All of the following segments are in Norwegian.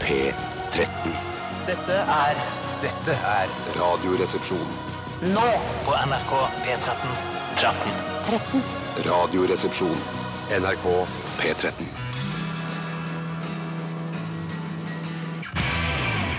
P13. Dette er Dette er Radioresepsjon. Nå på NRK P13. 13. Radioresepsjon. NRK P13.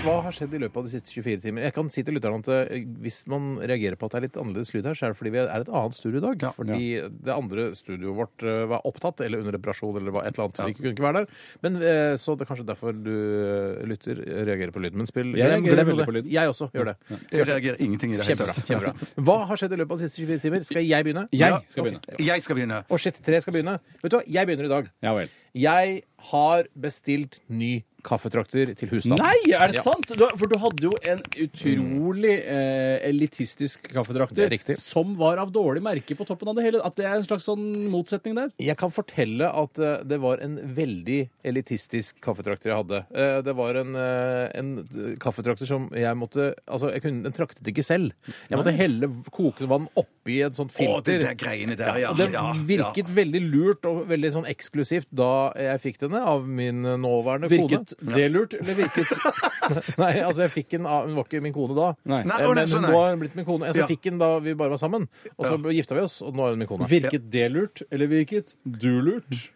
Hva har skjedd i løpet av de siste 24 timer? Jeg kan si til lytterne at eh, Hvis man reagerer på at det er litt annerledes lyd her, så er det fordi vi er et annet studio i dag. fordi det andre studioet vårt eh, var opptatt eller under reparasjon eller var et eller annet. Vi kunne ikke være der. Men, eh, så det er kanskje derfor du eh, lytter, reagerer på lyden. Men spill Jeg glem- reagerer glem veldig det. på lyden. Jeg også gjør det. Jeg reagerer ingenting i det hele Kjempebra. tatt. kjempebra. Hva har skjedd i løpet av de siste 24 timer? Skal jeg begynne? Jeg Ja. skal Ok. begynne. Jeg skal begynne. Og shit, tre skal begynne. Vet du hva, jeg begynner i dag. Ja vel. Jeg har bestilt ny kaffetrakter til husstanden. Nei, Er det Ja. sant? Du, for du hadde jo en utrolig eh, elitistisk Det er kaffedrakter riktig. som var av dårlig merke på toppen av det hele. At det er en slags sånn motsetning der. Jeg kan fortelle at eh, det var en veldig elitistisk kaffetrakter jeg hadde. Eh, Det var en, eh, en kaffetrakter som jeg måtte Altså, jeg kunne, den traktet ikke selv. Jeg måtte helle kokende vann oppi et sånt Å, det der filter. greiene der, ja. og det ja, virket veldig lurt og veldig sånn eksklusivt da jeg fikk denne av min eh, nåværende Virket kone. det lurt, eller virket Nei, altså jeg fikk den av Hun var ikke min kone da. Nei. Nei, Eh, å, nei, men så hun nei. var blitt min kone. Altså, Ja. Jeg fikk den da vi bare var sammen, og så gifta vi oss, og nå er hun min kone. Virket det lurt, eller virket du lurt?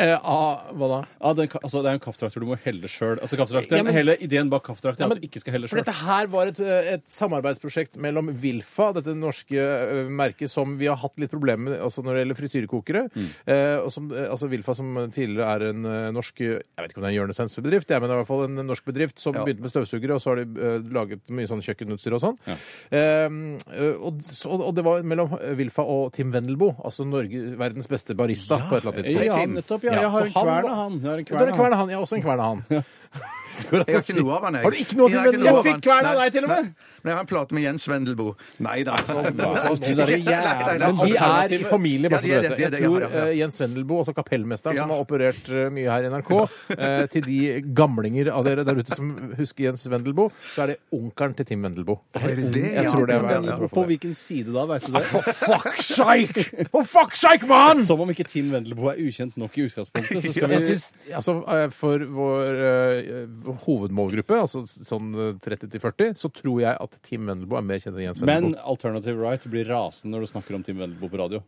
Eh, ah, hva da? Ja, den, ka- altså, det er en kaffedrakter du må helle sjøl. Altså, kaffedrakter- Ja, men- hele ideen bak Ja, kaffedrakter er men- at du ikke skal helle For sjøl. dette her var et, eh, et samarbeidsprosjekt mellom Vilfa, dette norske eh, merket som vi har hatt litt problemer med altså når det gjelder frityrekokere. Mm. Eh, og som, eh, altså Vilfa som tidligere er en eh, norsk Jeg vet ikke om det er en hjørnesensbedrift, jeg, men det er i hvert fall en norsk bedrift som begynte med støvsugere, og så har de eh, laget mye sånn kjøkkenutstyr og sånn. Eh, og, så- og det var mellom Vilfa og Tim Wendelboe, altså Norge, verdens beste barista på et eller annet tidspunkt. Ja, nettopp. Ja, jeg så har en kvern av han. Jeg har en Du har kvern en av kvern av han. Jeg har også en kvern av han. Jeg har ikke noe av han, jeg. Har du ikke noe av Jeg har Tim ikke noe Wendelboe? av han. Jeg fikk kvern av Nei. deg til og med. Nei. Men jeg har en plate med Jens Wendelboe. Nei da. de der Men de er i familie, Ja, de er det, bare for å vite. de er det, Jeg ja, tror ja, ja. eh, Jens Wendelboe, altså kapellmesteren Ja. som har operert eh, mye her i NRK, eh, til de gamlinger av dere der ute som husker Jens Wendelboe, så er det onkelen til Tim Wendelboe. Er det det? Jeg Ja, tror det Tim var jeg tror han. på På det. hvilken side da, veit du det? For fuck's sake! For fuck's sake, man! Som om ikke Tim Wendelboe er ukjent nok i utgangspunktet, så skal vi Jeg synes, altså, eh, for vår eh, hovedmålgruppe, altså s- sånn eh, 30 til 40, så tror jeg at Tim Wendelboe er mer kjent enn Jens Men Wendelboe. Alternative Right blir rasende når du snakker om Tim Wendelboe på radio.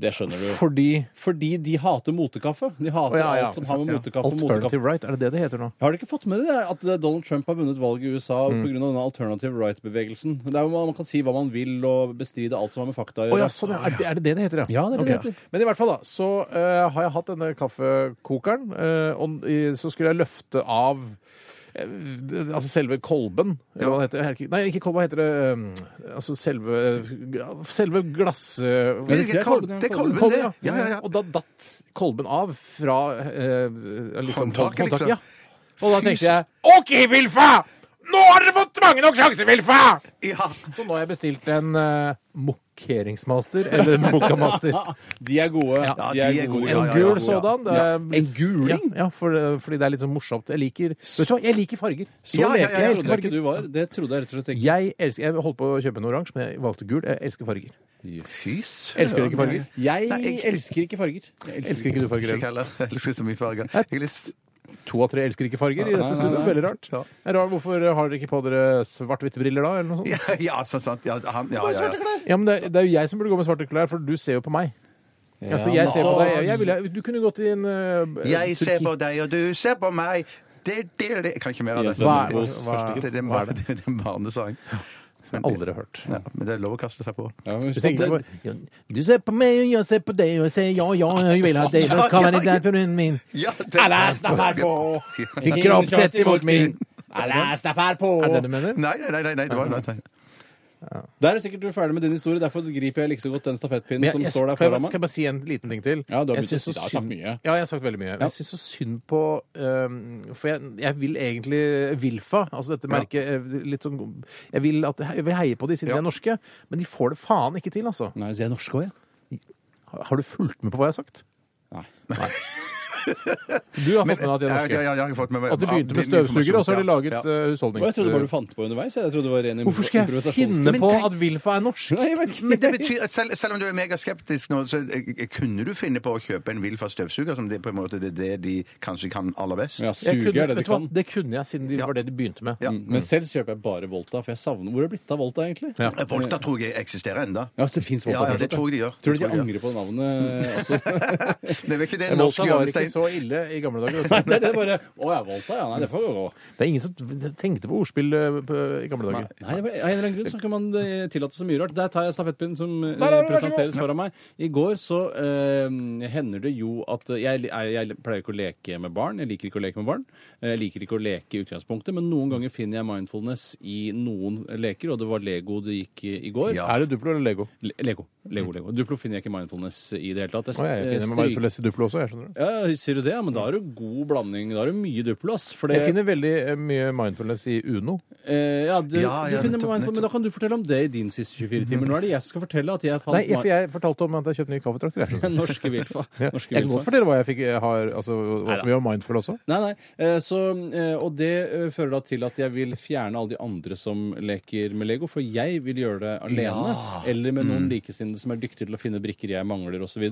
Det skjønner du. Fordi Fordi de hater motekaffe. De Å, hater ja, ja. alt som har med motekaffe og motekaffe Alternative right, er det det det heter nå? Har dere ikke fått med dere at eh, Donald Trump har vunnet valget i USA på Mm. grunn av denne alternative right-bevegelsen? Det er jo Man kan si hva man vil og bestride alt som har med fakta å Å gjøre. ja, sånn, ja. Er, det, er det det det heter, ja? Ja, det er det det Ok. heter. Men i hvert fall, da, så eh, har jeg hatt denne kaffekokeren, eh, og i- så skulle jeg løfte av eh, d- Altså selve kolben, eller hva det heter. Jeg er ikke- Nei, ikke kolben, hva heter det? eh, Altså selve Selve glass... eh, Det er kolben, det er kolben, det. ja. Ja, ja, ja. Og da datt kolben av fra eh, liksom, Håndtaket, liksom. Ja. Og da tenkte jeg OK, Vilfa! Nå har dere fått mange nok sjanser, Vilfa! Ja. Så nå har jeg bestilt en uh, mokkeringsmaster, eller mokkamaster. De er gode. Ja, de er gode, ja, En ja, ja. gul sådan. Det er, En guling? Ja, ja for, fordi det er litt sånn morsomt. Jeg liker Vet du hva, jeg liker farger. Så Ja, ja, ja, leker jeg. Jeg Jeg elsker trodde ikke farger. du var. Det trodde jeg rett og slett ikke. Jeg, elsker, jeg holdt på å kjøpe en oransje, men jeg valgte gul. Jeg elsker farger. Fy søren. Elsker du ikke farger? Jeg Nei, jeg- elsker ikke farger. Jeg elsker Elsker ikke du farger? Ikke Ellen? heller. Jeg elsker så mye farger. Jeg er litt- To av tre elsker ikke farger i nei, dette studioet. nei. Veldig rart. Ja. Det er rart, Hvorfor har dere ikke på dere svart-hvitte briller da, eller noe sånt? Ja, ja, så sant. Ja, han, ja, ja, ja. Ja, men det, er- det er jo jeg som burde gå med svarte klær, for du ser jo på meg. altså, jeg ser på deg. Jeg, jeg ville, du kunne gått i en eh, Jeg ser Turki- på deg, og du ser på meg. Det, det, det. Jeg kan ikke mer av det. Jens Wendelboes første gutt. det, det, Hva er det, det, det er en barnesang. Men, Aldri hørt. Ja, men det er lov å kaste seg på. Ja, men Du, husk tenker på ikke på, du ser på meg, og jeg ser på deg, og jeg sier ja, ja, jeg vil ha deg, men hva er det der for en min? Ja, det, Alla snappar på! Din kropp tett imot min. Alla snappar på! Er det det du mener? Nei, nei, nei, nei, det var nei, nei. Der er sikkert du ferdig med din historie, derfor griper jeg like så godt den stafettpinnen Men som jeg, jeg, står der kan jeg foran bare- skal meg. jeg bare si en liten ting til? Ja, du har Jeg begynt å syns si- så du har sagt synd- mye. Ja, jeg har sagt veldig mye. Men Jeg syns så synd på øhm, For jeg, jeg vil egentlig Vilfa, altså dette merket eh, litt sånn, jeg, vil at, jeg vil heie på de siden de er norske, men de får det faen ikke til, altså. Nei, så jeg er norsk òg, jeg. Har har du fulgt med på hva jeg har sagt? Nei. Du har fått med deg at de er Ja, ja, norske. ja, jeg har fått med meg- At de begynte mye med informasjon, støvsugere, og så har de ja. laget Ja. eh, Og jeg trodde bare du husholdnings... fant på underveis. Jeg trodde det var ren Hvorfor skal jeg finne på at Wilfa er norsk? Nei, jeg vet ikke. Men det betyr at selv, selv om du er megaskeptisk nå, så eh, kunne du finne på å kjøpe en Wilfa støvsuger, som det, på en måte, det er det de kanskje kan aller best? Ja, Jeg suge kunne, er det vet de du hva, kan. det kunne jeg, siden det Ja. var det de begynte med. Ja. Mm, Men selv så kjøper jeg bare Volta, for jeg savner Hvor er det blitt av Volta, egentlig? Ja. Eh, Volta tror jeg eksisterer enda. Ja, det fins Volta. Ja, ja, fortsatt, det tror jeg de gjør. Tror du Det de tror jeg angrer på navnet også? Det er vel ikke det Volta norske var ikke hjørnestein- så ille i gamle dager. Nei, vet du. det er det bare Å ja, Volta, ja. Nei, det får gå. Det er ingen som tenkte på ordspill eh, på- i gamle dager. Nei, det var- av en eller annen grunn så kan man eh, tillate så mye rart. Der tar jeg stafettpinnen som eh, Der har du, vær så presenteres foran meg. I går så eh, hender det jo at eh, jeg, jeg, jeg pleier ikke å leke med barn. Jeg liker ikke å leke med barn. Eh, Jeg liker ikke å leke i utgangspunktet, men noen ganger finner jeg mindfulness i noen leker, og det var Lego det gikk i i går. Ja. Er det Duplo eller Lego? Le Lego. Lego, Lego. Duplo finner jeg ikke mindfulness i det hele tatt. Å, jeg er eh, fin med stryker- mindfulness i Duplo også, jeg skjønner det. Ja, sier du det? Ja, men da er det god blanding. Da er det mye Duplo, ass. For det, Jeg finner veldig eh, mye mindfulness i Uno. eh, ja, du, Ja, ja, du finner nettopp, mindful- Men da kan du fortelle om det i din siste 24 timer. Nå er det jeg som skal fortelle at jeg fant Mm. Nei, for jeg fortalte om at jeg kjøpte ny kaffetrakter. jeg ma- skjønner. norske Wilfa. Norske Jeg kan godt Wilfa. fortelle hva jeg fikk, eh, har, altså, hva som gjør mindful også. Nei, nei. eh, Så, eh, og det eh, fører da til at jeg vil fjerne alle de andre som leker med Lego, for jeg vil gjøre det alene. Eller med noen Mm. likesinnede som er dyktige til å finne brikker jeg mangler, osv.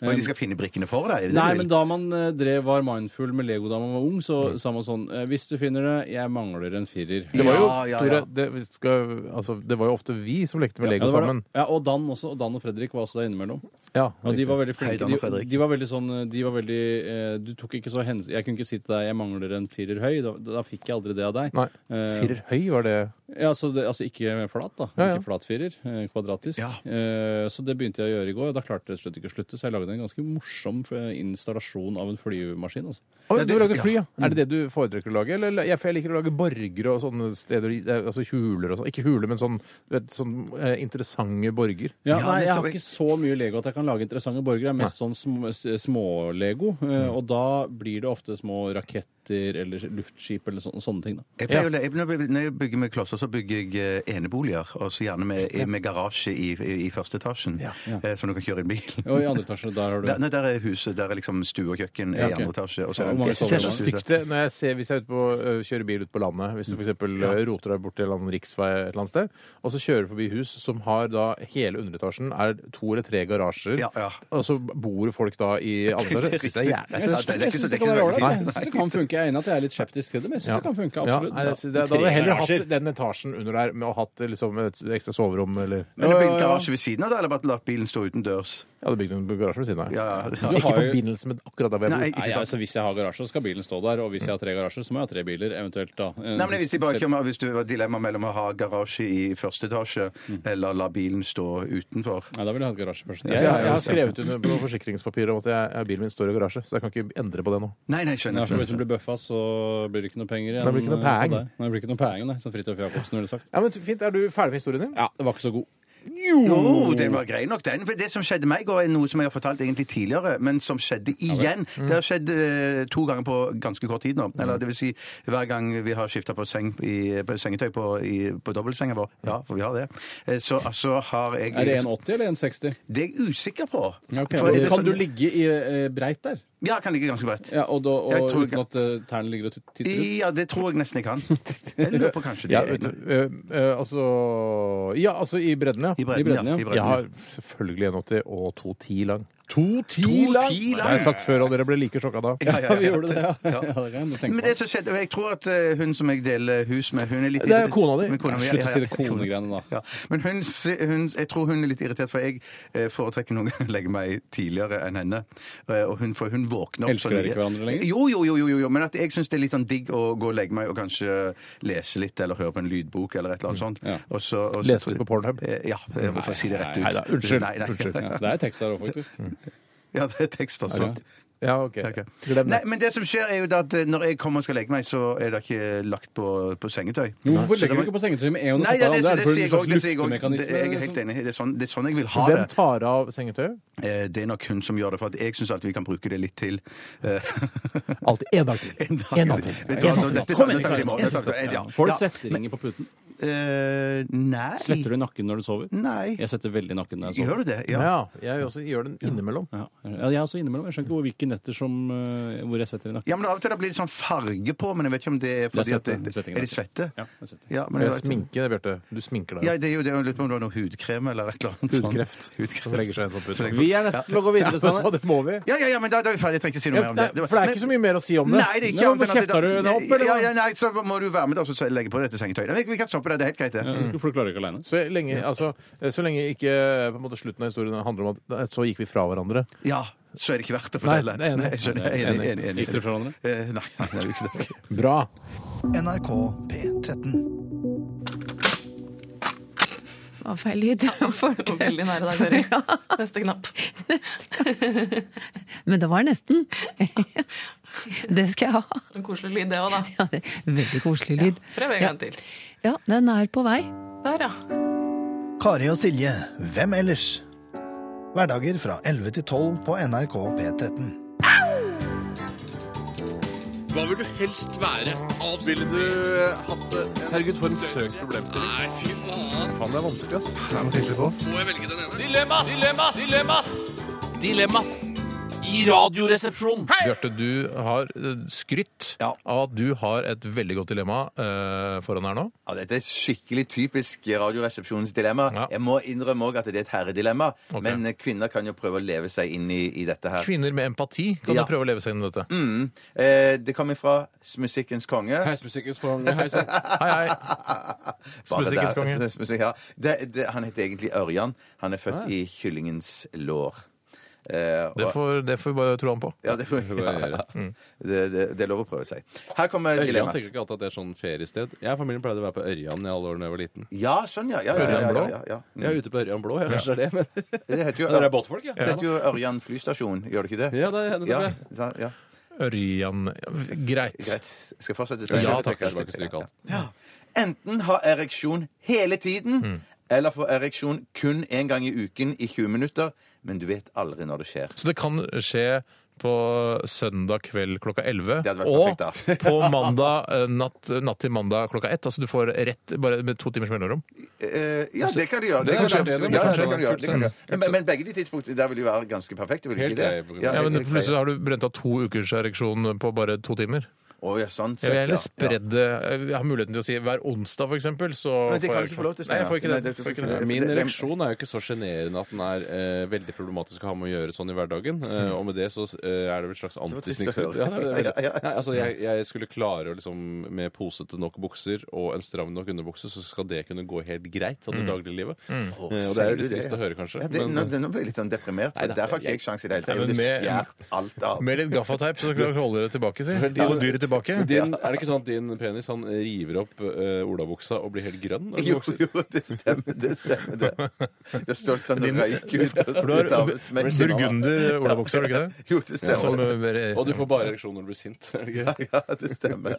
Men de skal finne brikkene for deg? er det det du Eh, Nei, vil? men da man eh, drev, var mindful med Lego da man var ung, så sa man sånn eh, Hvis du finner det, jeg mangler en firer. Mm. Det var jo, Ja, ja, Tore, ja. det, vi skal, altså, det var jo ofte vi som lekte med Ja, Lego det var det. sammen. Ja, og Dan også. Og Dan og Fredrik var også der innimellom. Ja, Og de riktig. var veldig Hei, flinke. Dan og de, Fredrik. de var veldig sånn de var veldig, eh, Du tok ikke så hensyn Jeg kunne ikke si til deg 'jeg mangler en firer høy'. Da, da fikk jeg aldri det av deg. Nei. Eh, Firer høy var det ja, så det, altså ikke flat, da. Ja, ja. Ikke flat firer. eh, Kvadratisk. Ja. Eh, så det begynte jeg å gjøre i går. og Da klarte jeg rett og slett ikke å slutte, så jeg lagde en ganske morsom eh, installasjon av en flymaskin. altså. Å, Ja, Du det- lagde fly, ja. Er det det du foretrekker å lage? Eller, eller- ja, for jeg liker å lage borger og sånne steder, i- eh, altså huler og sånn. Ikke huler, men sånn, du vet, sånn eh, interessante borger. Ja, Ja, nei, jeg har nettopp. ikke så mye Lego at jeg kan lage interessante borgere. Jeg er mest sånn sm- s- små-Lego. Mm. eh, Og da blir det ofte små raketter eller luftskip eller sånne, sånne ting. da. Jeg pleier, å le- jeg, når jeg- når jeg bygger med klosser, så bygger jeg eh, eneboliger. Og så gjerne med, med garasje i, i, i første etasjen, eh, som du kan kjøre i bilen. Og i andre etasje, der har du Der, nei, der er huset. Der er liksom stue og kjøkken Ja, i ok. andre etasje. Og så Ja, er det hvor mange en- Jeg synes det er så huset. stygt det når jeg ser, hvis jeg er ute på, øh, kjører bil ute på landet. Hvis du f.eks. roter deg bort til en eller annen riksvei et eller annet sted, og så kjører du forbi hus som har da hele underetasjen er to eller tre garasjer, Ja, ja. og så bor folk da i andre etasje. Det synes jeg er jævlig. Jeg Ja, syns det er ikke så- jeg syns det er det kan ikke være så veldig ålreit. jeg. Jeg syns det kan funke. Jeg er enig i at jeg er litt skeptisk til det, men jeg syns det kan funke. absolutt. Ja, jeg synes det, da hadde jeg heller hatt den etasjen under der med å hatt liksom, et ekstra soverom eller Men du bygger garasje ved siden av det, eller bare latt bilen stå utendørs? Jeg hadde bygd en garasje ved siden av. Ja, ja, ja. Du Ikke i har jo- forbindelse med akkurat der hvor jeg Nei, bor. Nei, ikke sant? altså Hvis jeg har garasje, så skal bilen stå der. Og hvis jeg har tre garasjer, så må jeg ha tre biler, eventuelt. da. eh, Nei, men hvis, de bare sett- kommer, hvis du har dilemma mellom å ha garasje i første etasje eller la bilen stå utenfor Nei, da ville jeg hatt garasje først. Jeg, jeg, har skrevet under på forsikringspapirer om at jeg, jeg, bilen min står i garasje, så jeg kan ikke endre på det nå. Nei, nei, skjønner. Nei, for Hvis du skjønner. blir bøffa, så blir det ikke noe penger igjen. Da blir det ikke noe eh, på peng. deg. Nei, det blir ikke noe peng, nei, som Fridtjof Jacobsen ville sagt. Ja, men Fint, er du ferdig med historien din? Ja, det var ikke så god. Jo, den Mm. var grei nok, den. For det som skjedde meg, og er noe som jeg har fortalt egentlig tidligere, men som skjedde igjen. Mm. Det har skjedd eh, to ganger på ganske kort tid nå. Eller det vil si, hver gang vi har skifta på, seng, i- på sengetøy på, i, på dobbeltsenga vår, ja, for vi har det, eh, så altså, har jeg Er det 1,80 eller 1,60? Det er jeg usikker på. Okay, For er det kan sånn- du ligge i eh, breit der? Ja, jeg kan ligge ganske bredt. Ja, og da, Jeg og tror uten ikke- at eh, tærne ligger og tut- titter ut? Ja, det tror jeg nesten jeg kan. Jeg lurer på kanskje det. Ja, vet du, øh, øh, altså Ja, altså i bredden, ja. I bredden, I bredden, ja. ja. I bredden, Jeg har selvfølgelig 1,80 og 2,10 lang. To ti Det har jeg lang! sagt før, og dere ble like sjokka da. Ja, ja, ja. Vi gjorde det, ja. ja. det kan jeg tenke Men meg. det som skjedde, og jeg tror at eh, hun som jeg deler hus med, hun er litt Det er kona di. Men kona mi, ja, Slutt å si det ja, ja. konegreiene, da. Ja. Men hun, si- hun, jeg tror hun er litt irritert, for jeg eh, foretrekker noen ganger å legge meg tidligere enn henne. Eh, Og hun, for hun våkner opp Elsker dere ikke hverandre lenger? Jo, jo, jo, jo, jo, jo. men at jeg syns det er litt sånn digg å gå og legge meg og kanskje lese litt, eller høre på en lydbok, eller et eller Mm, annet sånt. Ja. Og så, og så- Lese litt på Pornhub? Eh, Ja, jeg må få si det rett ut. Nei da, unnskyld. Nei, Mm. nei. Unnskyld. Ja, det er tekst der òg, faktisk. Ja, det er tekst også. det? Ja, OK. Ok. Glem Nei, det. men det som skjer er jo da at eh, når jeg kommer og skal legge meg, så er det ikke lagt på, på sengetøy. Så Hvorfor legger det du var- ikke på sengetøy med en og Nei, ja, det, det, det, sier jeg òg. Det, sier jeg også. det, jeg er liksom. luftemekanisme? helt enig. Det er, sånn, det er sånn jeg vil ha Hvem det. tar av sengetøyet? Eh, Det er nok hun som gjør det, for at jeg syns at vi kan bruke det litt til. Eh, Alltid én dag til. en dag En dag til. Vet du hva, Jeg synes det. dette- Kom igjen, dette tar vi i Karin. morgen. Jeg Dette synes tar vi- det. ja. Får du Ja. svetteringer på puten? eh, nei. Svetter du i nakken når du sover? Nei. Jeg svetter veldig i nakken når jeg sover. Gjør du det? Ja, Ja. jeg også gjør den innimellom. Ja, ja, jeg er også innimellom. Jeg skjønner ikke hvor- hvilke netter som, eh, hvor jeg svetter i nakken. ja, men Av og til da blir det sånn farge på, men jeg vet ikke om det er fordi svette. at det, Svettingen, Er de svette? Ja, jeg svetter. Ja, men Det det sånn- er var- sminke, det, Bjarte. Du sminker deg. Ja, det er jo det. Jeg lurer på om det var noe hudkrem eller et eller annet. sånt. Hudkreft. Som legger seg inn på putten. Vi er nødt til å gå videre. Vet du hva, Stanley. det må vi. Ja, ja, ja, men da, da er vi ferdige. Jeg trenger ikke si noe Ja, mer om nei, det. for det er ikke så mye mer å si om det. Nei, det er ikke Nei, annet men enn at kjefter du det opp, eller Ja, hva? ja, nei, så må du være med og så legge på dette sengetøyet. Nei, Vi, vi kan stoppe det. Det er helt greit, det. Ja, For du klarer ikke alene. Så lenge, altså, så lenge ikke eh, på en måte, slutten av historien handler om at nei, så gikk vi fra hverandre. Ja, så er det ikke verdt å Nei, fortelle. det er enig. jeg skjønner. Jeg er enig, enig, enig. Gikk dere fra hverandre? Eh, Nei, nei, det er jo ikke det. Bra. NRK P13. Hva var feil lyd? Veldig nære deg, Kari. Neste knapp. Men det var nesten. Det skal jeg ha. En koselig lyd, det òg, da. Ja, det er Veldig koselig lyd. Prøv en gang til. Ja, den er på vei. Der, ja. Kari og Silje, hvem ellers? Hverdager fra 11 til 12 på NRK P13. Bjarte, du har eh, skrytt Ja. av at du har et veldig godt dilemma eh, foran her nå. Ja, dette er skikkelig typisk Radioresepsjonens dilemma. Ja. Jeg må innrømme òg at det er et herredilemma, Ok. men eh, kvinner kan jo prøve å leve seg inn i, i dette her. Kvinner med empati kan Ja. du prøve å leve seg inn i dette. Eh, det kommer fra Musikkens konge. Heismusikkens konge, heisann. Hei, hei. Bare der, Musikkens konge. altså, musikk, ja. det, det, han heter egentlig Ørjan. Han er født i kyllingens lår. Eh, Det og- får, det får vi bare tro han på. ja, det, får, ja. Det, det, det er lov å prøve seg. Her kommer Ørjan dilemmaet. tenker ikke alltid at det er sånn feriested. Jeg og familien pleide å være på Ørjan i alle år da jeg var liten. Ja, sånn, ja. ja, ja, ja, ja, ja, ja. Jeg Mm. er ute på Ørjan Blå, jeg. Kanskje det er det, men Det heter jo, Dere er båtfolk, ja? det heter jo Ørjan flystasjon, gjør det ikke det? Ja, det er nettopp det. sa- ja. Ørjan ja, Greit. Greit. Skal jeg fortsette? Ja, Jeg takk. trekker Det var ikke så tilbake. kaldt. Enten ha ereksjon hele tiden, Mm. eller få ereksjon kun én gang i uken i 20 minutter, men du vet aldri når det skjer. Så det kan skje på søndag kveld klokka 11. Det hadde vært og perfekt, på mandag, eh, natt, natt til mandag klokka 1. Altså du får rett bare med to timers mellomrom. Eh, ja, det kan du gjøre. det kan kan du skje. Det gjøre. kan Ja, skje. det kan du gjøre. Kult, Det kan du gjøre. Men, men begge de tidspunktene der vil jo være ganske perfekte. Vil du Helt ikke det? greie, på grunn av- Ja, men helt Plutselig greie. har du brent av to ukers ereksjon på bare to timer. Å, ja, sånn Jeg sett, vil ja. heller spredde Jeg har muligheten til å si hver onsdag, for eksempel. Så Men det kan du ikke ereksjon. få lov til, Nei, jeg får Steinar. ikke Nei, det. det- Får ikke det. det- Min ereksjon er jo ikke så sjenerende at den er eh, veldig problematisk å ha med å gjøre sånn i hverdagen. Eh, og med det så eh, er det vel et slags Mm. var trist å antisningskutt. høre. Ja, det er veldig- Ja, ja, ja. Nei, altså, jeg, jeg skulle klare å liksom med posete nok bukser og en stram nok underbukse, så skal det kunne gå helt greit sånn i dagliglivet. Eh, og det Mm. sier er jo du litt det, trist ja. å høre, kanskje. Ja, det, men- eh, nå, det, nå ble jeg litt sånn deprimert, for Nei, da, der har ikke jeg- jeg sjans i det hele Nei, tatt. Jeg men ville med- spjært alt av. Med litt gaffateip, så klarer du å holde det tilbake, si. Holde dyret tilbake. Men Din, er det ikke sånn at din penis han river opp eh, olabuksa og blir helt grønn? når du Jo, vokser? jo, det stemmer, det stemmer det. Det står sånn røyk ut, For du ut har av smekken. burgunder-olabukse, har du ikke det? Jo, det Som, stemmer. eh, Og du får bare ereksjon når du blir sint. er det ikke? Ja, ja, det stemmer.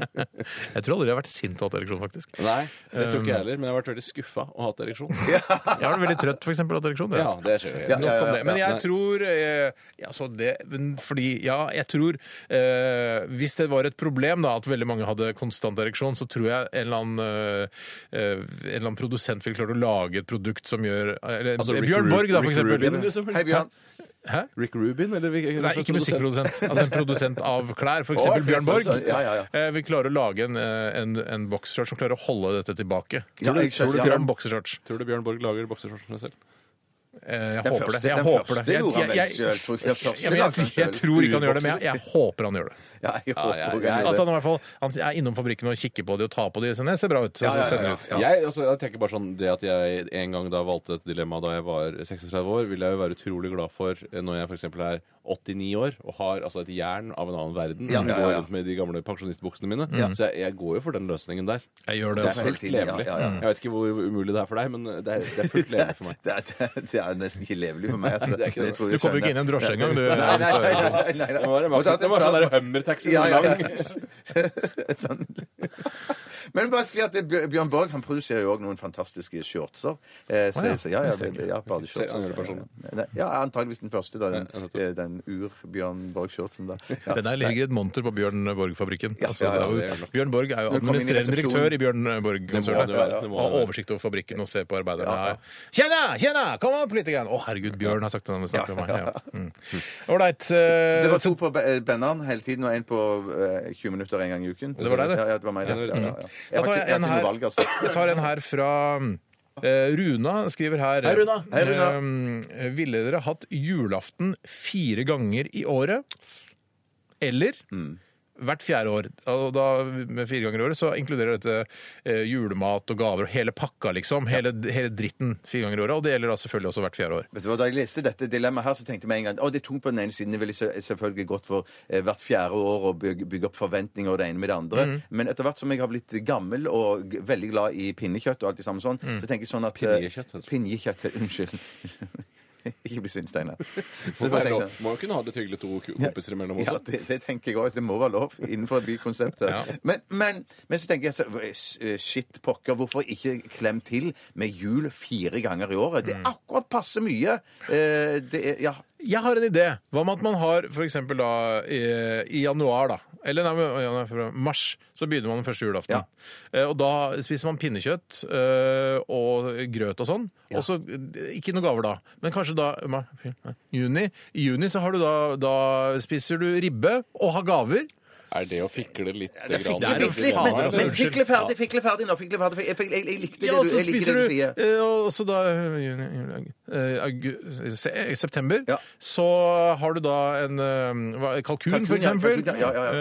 jeg tror aldri jeg har vært sint og hatt ereksjon, faktisk. Nei, det tror Um, ikke jeg heller, men jeg har vært veldig skuffa og hatt ereksjon. Jeg har vært veldig trøtt, for eksempel, og hatt ereksjon. det. Ja, det skjer jo. Ja, ja, Nok om ja, det. Men ja. jeg tror eh, altså det, men Fordi, ja, jeg tror eh, Hvis det var et problem da at veldig mange hadde konstant ereksjon, så tror jeg en eller annen, eh, eh, en eller annen produsent ville klart å lage et produkt som gjør eller, Altså, Rick Bjørn Ru- Borg, da, for Rick Rubin, eksempel. liksom. Hei, Bjørn. Hæ? Rick Rubin, eller hvilken Nei, ikke musikkprodusent. Altså en produsent av klær, for eksempel Å, Bjørn Borg. sånn, ja, ja, ja. eh, vil klare å lage en, eh, en, en boxershort som klarer å holde dette tilbake. Ja, jeg Tror du skjønner. Bjørn boxershorts? Tror du Bjørn Borg lager bokseshortsene selv? Eh, Jeg Den håper første- det. Jeg den håper første det. Jeg- gjorde han jeg- vel jeg- selv, tror jeg. Den første Ja, men lagde han jeg- Jeg selv. tror ikke han gjør det, men jeg- jeg håper han gjør det. Ja, jeg ja, ja, håper også han At gjør han det. i hvert fall han er innom fabrikken og kikker på de og tar på de. Sånn, jeg ser bra ut. Så, Ja, ja, så sender ja, de ut. ja. Jeg, altså, jeg tenker bare sånn Det at jeg en gang da valgte et dilemma da jeg var 36 år, vil jeg jo være utrolig glad for eh, når jeg f.eks. er 89 år og har altså et jern av en annen verden som ja, går ja. rundt med de gamle pensjonistbuksene mine. Så jeg, jeg går jo for den løsningen der. Jeg gjør det. Det er Altså. Hele fullt tiden, ja, levelig. ja, ja. Jeg vet ikke hvor umulig det er for deg, men det er, det er fullt levelig for meg. Det er, det er- det er nesten ikke levelig for meg. Altså. Det er ikke det. Jeg tror Du jeg kommer ikke inn i skjønner. en drosje engang, du. Nei, nei, nei, nei, nei, nei. Det var, sånn det var, Må ta til det var sånn sal- der Hummer-taxi. Ja, ja, ja. lang. Sånn. Men bare si at det, Bjør- Bjørn Borg han produserer jo òg noen fantastiske shortser. Eh, så, Å, ja. så, ja, ja, Neste uke. ja, bare Ser shortser. andre personer. Nei, ja, antageligvis den første, da. Den, Ja, nettopp. eh, den ur-Bjørn Borg-shortsen, da. Ja. Den der ligger et monter på Bjørn Borg-fabrikken. altså, ja, ja, det er det jo- er nok. Bjørn Borg er jo Når du kommer inn i administrerende resepsjonen. direktør i Bjørn Det eh, må det Borg-konsernet. være, det må det Har være. oversikt over fabrikken og ser på arbeiderne. Ja, ja. Tjena! Tjena! Kom opp litt! Igjen. Å, herregud, Bjørn har sagt det når vi snakker om meg. Ja. Mm. Ålreit. eh, Det var så- to på Be- eh, Benneren hele tiden, og én på eh, 20 minutter en gang i uken. Det var deg, det? Ja, ja, det var meg, det. Ja, ja, ja. Da Jeg har tar ikke, jeg jeg har en ikke noe her, valg, altså. jeg tar en her fra eh, Runa skriver her Hei, Runa. Hei, Runa. ehm, Ville dere hatt julaften fire ganger i året? Eller Mm. hvert fjerde år? Og da, med fire ganger i året så inkluderer dette eh, julemat og gaver og hele pakka, liksom. Hele, hele dritten fire ganger i året. Og det gjelder da selvfølgelig også hvert fjerde år. Vet du hva, Da jeg leste dette dilemmaet her, så tenkte jeg med en gang at det er tungt på den ene siden. Det er veldig sø- selvfølgelig godt for eh, hvert fjerde år å bygge, bygge opp forventninger og det ene med det andre. Mm. Men etter hvert som jeg har blitt gammel og g- veldig glad i pinnekjøtt og alt det samme sånn, Mm. så tenker jeg sånn at eh, Pinjekjøtt, heter det. Pinjekjøtt, Unnskyld. Ikke bli sint, Steinar. Det Så bare er tenkte lov. jeg- Må jo kunne ha det hyggelig to k- kompiser imellom ja, også. det, det tenker jeg òg. Det må være lov innenfor bykonseptet. Ja. Men, men, men så tenker jeg så, eh, shit pokker, hvorfor ikke klem til med jul fire ganger i året? Det er akkurat passe mye. Eh, det er, ja, Jeg har en idé. Hva med at man har f.eks. da i, i januar, da. Eller nei, men- ja, nei, februar. mars. Så begynner man den første julaften. Ja. Eh, Og da spiser man pinnekjøtt eh, og grøt og sånn. Og så eh, Ikke noen gaver da, men kanskje da ma- nei, juni. I juni så har du da, da spiser du ribbe og har gaver. Er det å fikle litt Det fikk grann? det er jeg jo bitte litt, faen, men, altså, men unnskyld. fikle ferdig, fikle ferdig nå. Fikle ferdig, fikle, jeg, jeg, jeg likte det Ja, og du, så jeg liker spiser det du du sier. eh, Og så da eh, juni, juli, august, eh, august, se- september, Ja. så har du da en eh, hva- kalkun, Kalkun, for ja, eksempel. kalkun, ja, ja, ja.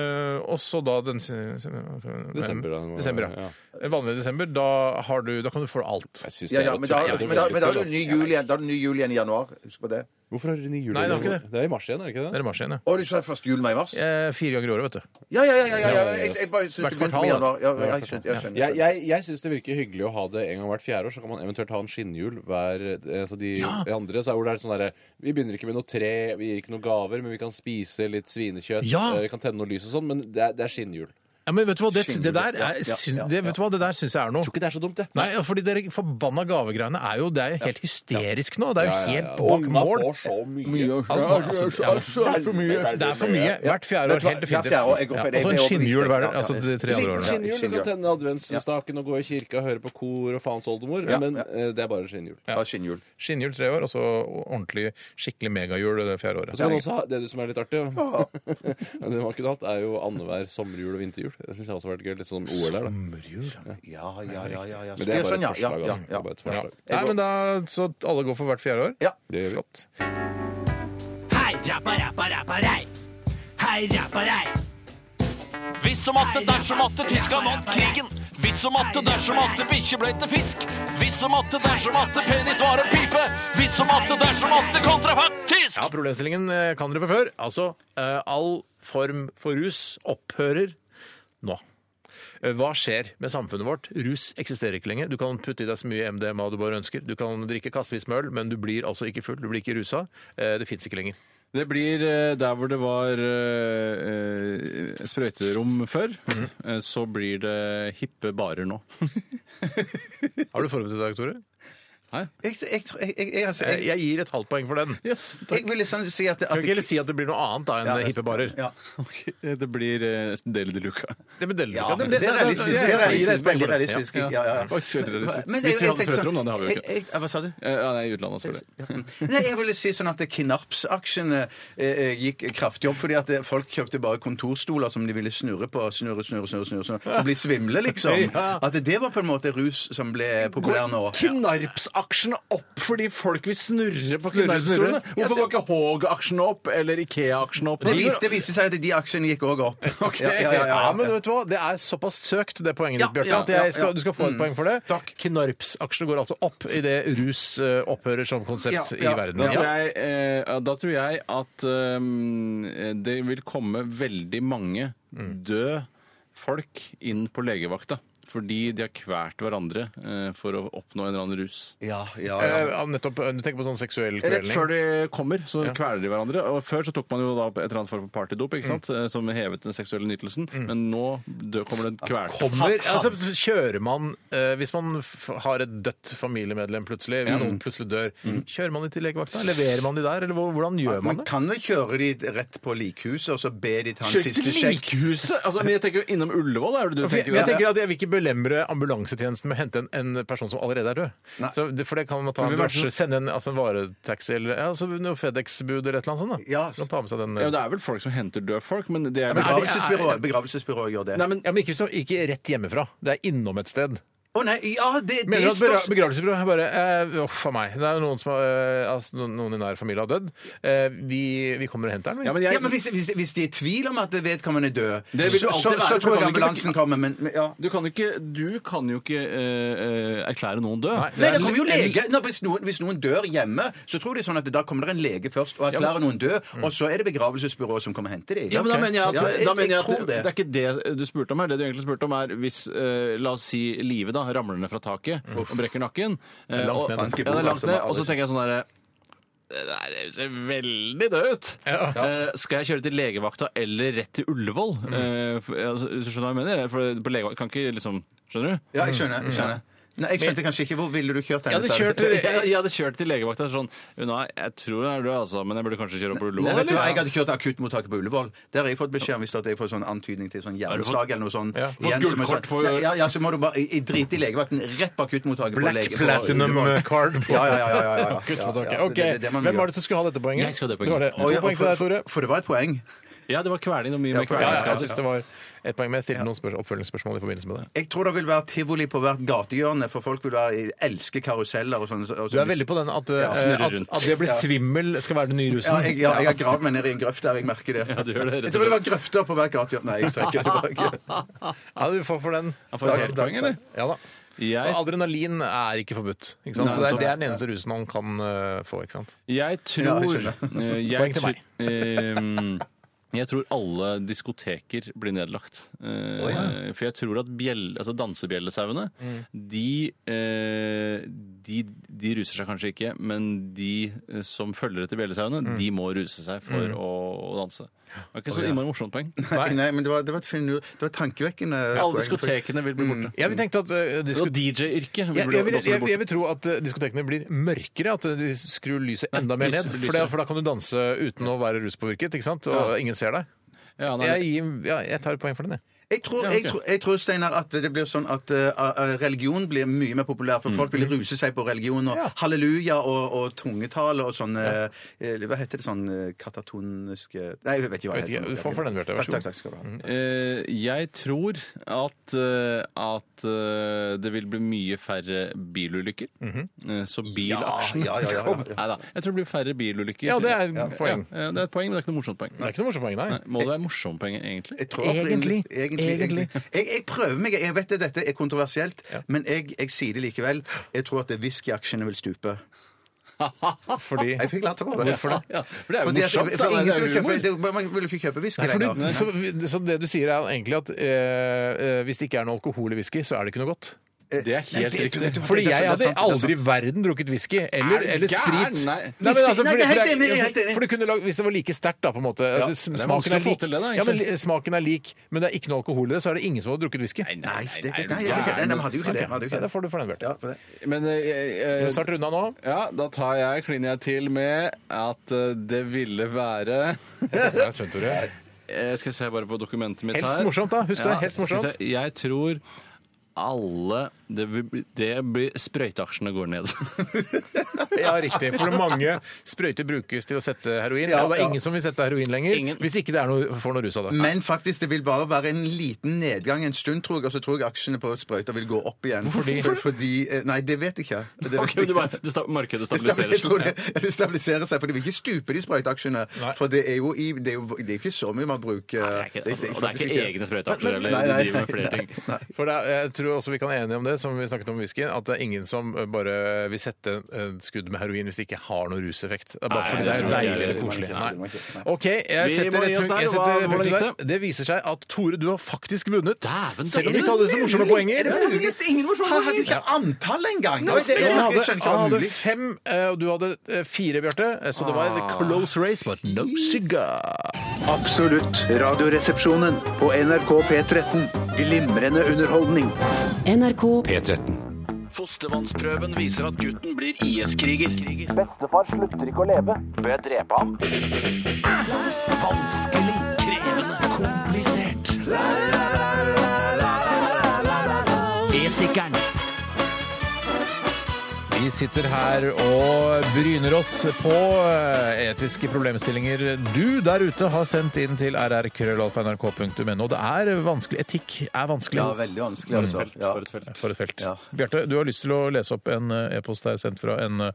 Eh, Og så da den se- se- Desember, da. Desember, ja. Ja. Eh, Vanlig desember, da, har du, da kan du få alt. Jeg synes Ja, det ja, er men da, utrolig. men da, men da er det ny jul igjen Da er det ny jul igjen i januar. Husk på det. Hvorfor er det ny jul? Nei, det er igjen? ikke det. Det er i mars igjen, er det ikke Det det? er i mars igjen, ja. Å, du sa først jul meg i mars? Ja, Eh, Fire ganger i året, vet du. ja, ja. ja, ja, ja. Jeg, jeg bare Hvert syns det begynte med kvartal, januar. Ja, jeg, hvert skjønner- jeg skjønner. Jeg, jeg, jeg syns det virker hyggelig å ha det en gang hvert fjerde år. Så kan man eventuelt ha en skinnhjul hver eh, Så de andre så er hvor det er sånn derre Vi begynner ikke med noe tre, vi gir ikke noen gaver, men vi kan spise litt svinekjøtt, Ja. eh, vi kan tenne noe lys og sånn, men det er, det er skinnhjul. Jeg Ja, men vet du hva, det, det der, Ja, er, ja, syn- ja, det, vet du hva, det der syns jeg er noe. tror ikke det er så dumt, det. Nei, ja, fordi dere forbanna gavegreiene er jo, det er jo helt hysterisk nå. Det er jo helt bak Ungene mål. får så mye. Altså, ja, Det er for mye. Hvert fjerde Vet år, du hva? helt Hvert definitivt. fjerde år, jeg går for Ja, det. og så en Jeg blir skinnhjul overbevist. hver Ja, ja. altså de tre andre Skinn- årene. Skinn- Skinnhjul, du kan tenne adventsstaken og gå i kirka, høre på kor og faens oldemor, Ja, men ja. eh, det er bare skinnhjul. Ja, skinnhjul. Skinnhjul tre år, og så ordentlig skikkelig megahjul det fjerde året. Så kan du også ha, det du som er litt artig, ja. Men det man kunne hatt, er jo annenhver sommerjul og vinterjul. Det syns jeg også har vært gøy. Litt sånn OL her, da. Ja, ja, ja. ja, Mm. ja. Men det er bare Sånn, ja, et forslag, ja, altså. Det ja, er bare et Ja. forslag. Nei, men da, Så alle går for hvert fjerde år? ja. Det gjør vi. Flott. Hei, rappa, rappa, rappa, rei. Hei, rappa, rei. Hvis som atte, dersom atte, tyska vant krigen. Hvis som atte, dersom atte, bikkje ble til fisk. Hvis som atte, dersom atte, penis var en pipe. Hvis som atte, dersom atte, kontrafaktisk. Ja, problemstillingen eh, kan dere fra før. Altså, eh, all form for rus opphører nå. Eh, Hva skjer med samfunnet vårt? Rus eksisterer ikke lenger. Du kan putte i deg så mye MDMA du bare ønsker. Du kan drikke kassevis med øl, men du blir altså ikke full. Du blir ikke rusa. Eh, Det fins ikke lenger. Det blir eh, der hvor det var eh, eh, sprøyterom før, Mm. eh, så blir det hippe barer nå. Har du forberedt deg, Tore? Jeg, jeg, tror- jeg, jeg, jeg, altså, Eh, jeg, Jeg gir et halvt poeng for den. Du Yes, jeg vil liksom si at, at kan ikke heller si at det blir noe annet da enn Ja, altså, eh, hippe barer. Ja. Det blir eh, Deli de Luca. Det med Delta. Ja, Ja, det er realistisk. Det er realistisk, Veldig realistisk. Ja, ja, ja. Faktisk veldig realistisk. Men Hvis vi hadde tenkte sånn- sprøyterom, da, det har vi jo ikke. jeg- jeg- Hva sa du? Eh, Ja, nei, i utlandet, selvfølgelig. Nei, jeg ville si sånn at Knarps-aksjene eh, eh, gikk kraftig opp fordi at eh, folk kjøpte bare kontorstoler som de ville snurre på, snurre, snurre, snurre, snurre, snurre og bli svimle, liksom. At det var på en måte rus som ble populær nå. Knarpsaksjene opp fordi folk vil snurre på Snurre, knarpstolene? snurre. Hvorfor går ikke Haag-aksjene opp, eller Ikea-aksjene opp? Det viste, det viste seg at de aksjene gikk òg opp. Ja, ja, ja, ja. Ja, men vet du hva? Det er såpass søkt, det poenget ditt, Ja, Bjarte, ja, at jeg ja, skal, ja. du skal få et Mm. poeng for det. Takk. Knarps-aksjene går altså opp idet rus eh, opphører som konsept Ja, ja. i verden. Ja. Da tror, jeg, eh, da tror jeg at eh, det vil komme veldig mange døde folk inn på legevakta. fordi de har kvært hverandre eh, for å oppnå en eller annen rus. Ja, ja, ja. Eh, nettopp, Du tenker på sånn seksuell Rett kvelning? før de kommer, så kveler de hverandre. Og Før så tok man jo da et eller annet form for partydop ikke sant? Eh, som hevet den seksuelle nytelsen, men nå dø kommer den kvelte. Kommer, altså, kjører man eh, Hvis man f har et dødt familiemedlem plutselig, hvis noen plutselig dør, kjører man de til legevakta? Leverer man de der, eller hvor- hvordan gjør man Mm. Man det? kan vel kjøre de rett på likhuset og så be de ta en Kjører siste til sjekk. likehuset! Altså, men jeg tenker jo innom Ullevål, er det du For jeg, tenker? jeg tenker at jeg vil ikke belemre ambulansetjenesten med å hente en, en person som allerede er død. Så det, for det kan man ta en Men hvem er det drosje, som- sende en, altså en varetaxi eller ja, altså noe FedEx-bud eller et eller annet sånt. Da. Ja. Man kan ta med seg den, ja, men det er vel folk som henter døde folk, men det er vel Begravelsesbyrået begravelsesbyrået gjør det. Nei, men, ja, men ikke, så, ikke rett hjemmefra. Det er innom et sted. Å nei, ja, det, det Mener du at spørs- begra- begravelsesbyrå er bare eh, Uff a meg. Det er noen, som, har, eh, altså, noen- noen i nær familie har dødd. Eh, vi, vi kommer og henter den. vi. Ja, men jeg, Ja, men hvis, hvis, hvis de er i tvil om at vedkommende er død, vil det så, alltid så, være, så for tror man jeg kan ambulansen kommer. Men, men ja. Du kan, ikke, du kan jo ikke eh, eh, erklære noen død. Nei, det Nei, det kommer jo lege. Nå, hvis, noen, hvis noen dør hjemme, så tror de sånn at da kommer det en lege først og erklærer noen død, og så er det begravelsesbyrået som kommer og henter dem. Ja, men da mener jeg at, Ja, jeg- da mener jeg jeg tror at det. er ikke det du spurte om her. Det du egentlig spurte om, er hvis eh, la oss si livet da, ramler ned fra taket og brekker nakken. eh, Langt ned, og, ja, det ganske er bra, langt altså, ned, bare og så det. tenker jeg sånn derre det der ser veldig død ut. Eh, skal jeg kjøre til legevakta eller rett til Ullevål? Eh, for- altså, hvis du skjønner hva jeg mener? For på legevakta kan ikke liksom Skjønner du? Ja, jeg skjønner. Jeg skjønner. Nei, jeg skjønte kanskje ikke hvor ville du kjørt Jeg henne. hadde, sa du? kjørt til, jeg, jeg hadde kjørt til legevakta sånn Nei, jeg tror hun er død, altså, men jeg burde kanskje kjøre opp på Nei, Ullevål, vet du, hva, jeg eller? hadde kjørt til akuttmottaket på Ullevål. Der har jeg fått beskjed om hvis at jeg får sånn antydning til sånn hjerneslag eller noe sånt. Ja. Fått Igjen, som er gullkort på- Nei, Ja, ja, så må du bare i- i- drite i legevakten rett på akuttmottaket. på Black lege- på platinum Ullevål. card. På. Ja, ja, ja. ja, ja, ja. Kuttmottaket. Ja, ja, Ok, det- det- det man Hvem gjør. var det som skulle ha dette poenget? Jeg skulle ha det Det var det. poenget. To Å, ja, poeng til for- deg, Tore. For for det var et poeng. Ja, det var kveling og mye Ja, med kveling. Ja, kvelingsskader. jeg syns det var et poeng, men jeg stilte noen spørs- oppfølgingsspørsmål i forbindelse med det. Jeg tror det vil være tivoli på hvert gatehjørne, for folk vil være, elske karuseller og sånn. og Du sånn- er veldig på den at, Ja, eh, snurre at, rundt. at det å bli Ja. svimmel skal være den nye ja, rusen. jeg, ja, jeg har gravd meg ned i en grøft der, jeg merker det. du gjør det, rett og jeg tror det var grøfter på hvert gatehjørne. Nei, jeg trekker det tilbake. Ja, du får for den. Han får helt poeng, eller? Ja da. Og Jeg, adrenalin er ikke forbudt. Ikke sant? Nei, så det er, nettopp. det er den eneste rusen man kan eh, få. ikke sant? jeg Ja, tror jeg eh, jeg Poeng til meg. tr- ehm, Jeg tror alle diskoteker blir nedlagt. Eh, For jeg tror at bjell, altså dansebjellesaune, Mm. de, eh, de, de ruser seg kanskje ikke, men de eh, som følger etter bjellesauene, Mm. de må ruse seg for å, å danse. Det var ikke så innmari morsomt poeng. Nei, nei, men det var, det var, et finur, det var tankevekkende. poeng, Alle for- diskotekene vil bli borte. Jeg vil tenke at eh, disko- Og DJ-yrket jeg, vil jeg, bli vil, også jeg, bli jeg borte. vil tro at eh, diskotekene blir mørkere, at eh, de skrur lyset enda mer lyset ned. blir For, det, lysere. for da kan du danse uten å være ruspåvirket, ikke sant? og ingen ser deg. Ja, nei, Jeg, gir- ja, jeg tar et poeng for den, jeg. Jeg tror, Ja, ok. jeg, tror, jeg tror Steinar, at det blir sånn at eh, eh, religion blir mye mer populær, Mm, for folk vil ruse seg på religion og Ja. halleluja og, og tungetale og sånn eh, eh, Hva heter det sånn eh, katatoniske Nei, jeg vet ikke hva Vet det ikke. heter. Du får for den, Bjarte. Vær så Takk, Mm. takk, takk skal du ha. Eh, jeg tror at, eh, at eh, det vil bli mye færre bilulykker. Eh, så bilaksjen Mhm. Ja, ja, ja, ja, ja. Neida, Jeg tror det blir færre bilulykker. Ja, det er et poeng. Ja, eh, det er et poeng, men det er ikke noe morsomt poeng. Det er ikke noe morsomt poeng, nei. Nei, må det være morsomt poeng, egentlig? Jeg tror at det er Egentlig. egentlig, Egentlig. Jeg, jeg prøver meg. Jeg vet at dette er kontroversielt, men jeg, jeg sier det likevel. Jeg tror at whiskyaksjene vil stupe. Fordi Jeg fikk latter på det. Hvorfor det? Ja, for det er jo Fordi at, morsomt. da, for ingen det er som vil humor. kjøpe, det, man vil jo ikke kjøpe whisky Nei, for lenger. du, så, så det du sier er egentlig at eh, eh, hvis det ikke er noe alkohol i whisky, så er det ikke noe godt. Det er helt Nei, det- riktig. vet du hva, Fordi det er jeg sant, hadde det er sånn- sant, det er sant. aldri i verden drukket whisky eller, Er du eller gæren? sprit. Nei. men altså, Whisky- nei, fordi- jeg fordi er helt det enig, jeg er helt enig. For du kunne lag, Hvis det var like sterkt, da, på en måte at det- det er smaken, er vanskelig å få lik, til det, da, ja, men, egentlig. li- smaken er lik, men det er ikke noe alkohol i det, så er det ingen som hadde drukket whisky. Nei, Nei, det, det, nei, er jeg, du nei, gæren? nei, man hadde jo ikke det. man Hadde jo ikke Da det. får du for den, Bjarte. Ja, for det. Men eh, Du jeg- jeg- starter unna nå. ja, da tar jeg, kliner jeg til med at eh, det ville være Det er sunt, Tore. Eh, Skal jeg se bare på dokumentet mitt Helst her. morsomt, da. Husk det, helst skal vi morsomt. se. Jeg tror alle Det blir, det blir Sprøyteaksjene går ned. Ja, riktig. For mange sprøyter brukes til å sette heroin. Ja, og det er ja. ingen som vil sette heroin lenger Ingen. hvis ikke det er noe, får noe rus av det. Men faktisk, det vil bare være en liten nedgang en stund, tror jeg, og så tror jeg aksjene på sprøyter vil gå opp igjen. Fordi? For- Fordi eh, Nei, det vet jeg ikke. Det vet Ok, jeg det ikke. bare- det sta- Markedet Det sånn- stabiliserer, stabiliserer jeg tror seg. det, det stabiliserer seg, for de vil ikke stupe de sprøyteaksjene. Nei. For det er jo i, det er jo det er jo ikke så mye man bruker Nei, det er ikke det. Altså, og det er faktisk ikke egne sprøyteaksjer, Men- men- eller nei, de nei, driver med nei, flere ting. nei. For det, er- jeg tror tror også vi kan være enige om det, som vi snakket om whisky, at det er ingen som eh, bare vil sette et skudd med heroin hvis det ikke har noen ruseffekt. Det er bare Nei, fordi det er det tror jeg deilig ikke. og koselig. Det må man ikke. Nei. Nei. OK, jeg Vi setter må gi et oss punkt der. jeg Hva- setter et hvordan punkt gikk der. Det viser seg at Tore, du har faktisk vunnet. Dæven, Selv om Tore. du ikke hadde så morsomme poenger. Du liste ingen morsomme poeng! Ikke antall engang! Det Han hadde, skjønner ikke han hva hadde mulig. fem, eh, og du hadde eh, fire, Bjarte. eh, Så det Ah. var en close race, but no cigar. Absolutt. Radioresepsjonen på NRK P13. Glimrende underholdning. NRK P13. Fostervannsprøven viser at gutten blir IS-kriger. Bestefar slutter ikke å leve. Bør jeg drepe ham? Vanskelig, krevende, komplisert. Etikeren. Vi sitter her og bryner oss på eh, etiske problemstillinger du der ute har sendt inn til rrkrøllalfa.nrk.no. Det er vanskelig. Etikk er vanskelig. Ja, veldig vanskelig, altså. Ja. For et felt. Ja. Bjarte, du har lyst til å lese opp en eh, e-post der sendt fra en, eh,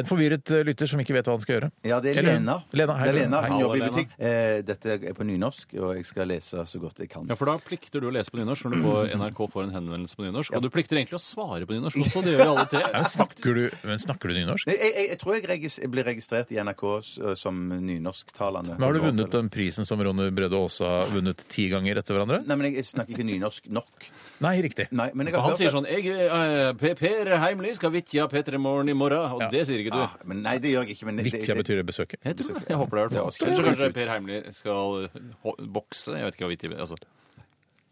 en forvirret eh, lytter som ikke vet hva han skal gjøre. Ja, det er Eller hun. Lena. Lena, hei, det er Lena. Lena. Hun Hei. jobber i Hallo, Lena. butikk. Eh, dette er på nynorsk, og jeg skal lese så godt jeg kan. Ja, for da plikter du å lese på nynorsk når du får NRK får en henvendelse på nynorsk. Og du plikter egentlig å svare på nynorsk også, det gjør jo alle tre. Ja, snakker, du, men snakker du nynorsk? Nei, Jeg, jeg, jeg tror jeg regis, jeg blir registrert i NRK s- eh, som nynorsktalende. Men har du vunnet den prisen som Ronny Brede Aase har vunnet ti ganger etter hverandre? Nei, men jeg snakker ikke nynorsk nok. Nei, riktig. Nei, men jeg For har han hørt sier sånn jeg, eh, P- Per Heimli skal vitja P3 Morgen i morgen, og det sier ikke du. Ja, Ah, men nei, det gjør jeg ikke. Men det, Vitja betyr det besøker. Jeg tror det. Jeg håper det er det. Ja, Eller så kanskje Per Heimli skal eh, ho- bokse. Jeg vet ikke hva vitja altså.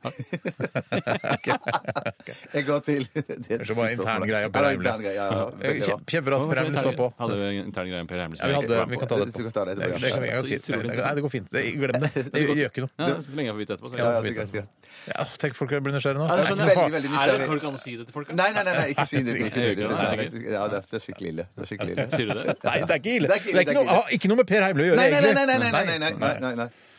Jeg går til Det er Det var intern greie, Ja, Per det er Heimli. intern greie, ja, ja, veldig bra. Kjempe- Kjempebra at Per Heimli står på. Hadde vi en intern greie om Per Heimli? Ja, som vi, jeg ikke hadde, var vi med kan på? ta det Det- etterpå. det- det- det- det- Det- det kan vi- jeg kan si det. utrolig Nei, det går fint. Det, glem det. Det gjør ikke noe. Ja, så lenge jeg får vite etterpå, så er Ja, ja, det det er greit, det er greit. Ja, tenk folk blir nysgjerrige nå. Ja, det skjønner Nei, jeg. faen. Veldig, veldig Er det nysgjerrig. folk kan si det til folk? da? Nei, nei, nei, nei, ikke si det. Nei, Ikke si det. Nei, det er nei, Ja, det er- det er skikkelig ille. Det er skikkelig ille. Sier du Nei, det? det er ikke ille. Det er Det er ikke ille, ikke noe, har ille. ikke noe med Per Heimli å gjøre, Nei, nei, nei, egentlig. nei, nei, nei, nei, nei, nei, nei.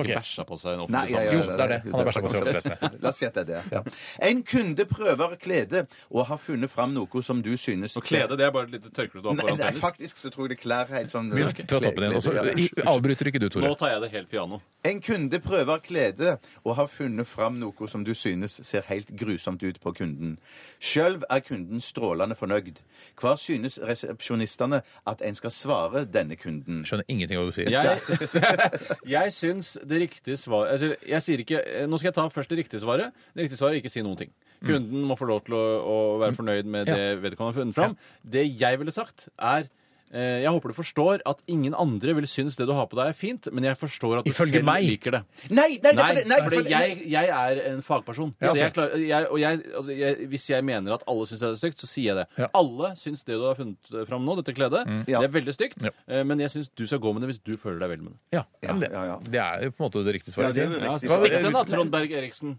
Ikke Ok. bæsja på seg i en sånn. offentlig Nei, ja, ja, sammenheng. Jo, det er det. Han har bæsja på seg det- oppdrett. La oss si at det er det. Ja. En kunde prøver klede og har funnet fram noe som du synes Og klede, det er bare et lite tørkle du har Nei, foran nei, penis. faktisk så tror jeg det klær helt sånn Vi tar toppen igjen. Og så klede- i- avbryter ikke du, Nå Tore. tar jeg det helt piano. En kunde prøver klede og har funnet fram noe som du synes ser helt grusomt ut på kunden. Sjøl er kunden strålende fornøyd. Hva synes resepsjonistene at en skal svare denne kunden? Skjønner ingenting av hva du sier. Jeg, jeg syns det riktige svaret altså, jeg sier ikke, Nå skal jeg ta først det riktige svaret. Det riktige svaret er ikke si noen ting. Mm. Kunden må få lov til å, å være fornøyd med Ja. det vedkommende har funnet fram. Det jeg ville sagt, er eh, jeg håper du forstår at ingen andre vil synes det du har på deg, er fint, men jeg forstår at du Ifølge selv meg. liker det. Nei, nei, nei, Nei, nei, nei, fordi jeg, jeg er en fagperson. Ja, Så jeg ok. klarer, jeg, og jeg, altså, jeg, hvis jeg mener at alle syns det er stygt, så sier jeg det. Ja. Mm. Alle syns det du har funnet fram nå, dette kledet, det er veldig stygt, Ja. eh, men jeg syns du skal gå med det hvis du føler deg vel med det. Ja, men det, Ja, ja, ja. det er jo på en måte det riktige Ja, svaret. det er jo Ja, riktig. Hva- Stikk den da, Trond Berg Eriksen.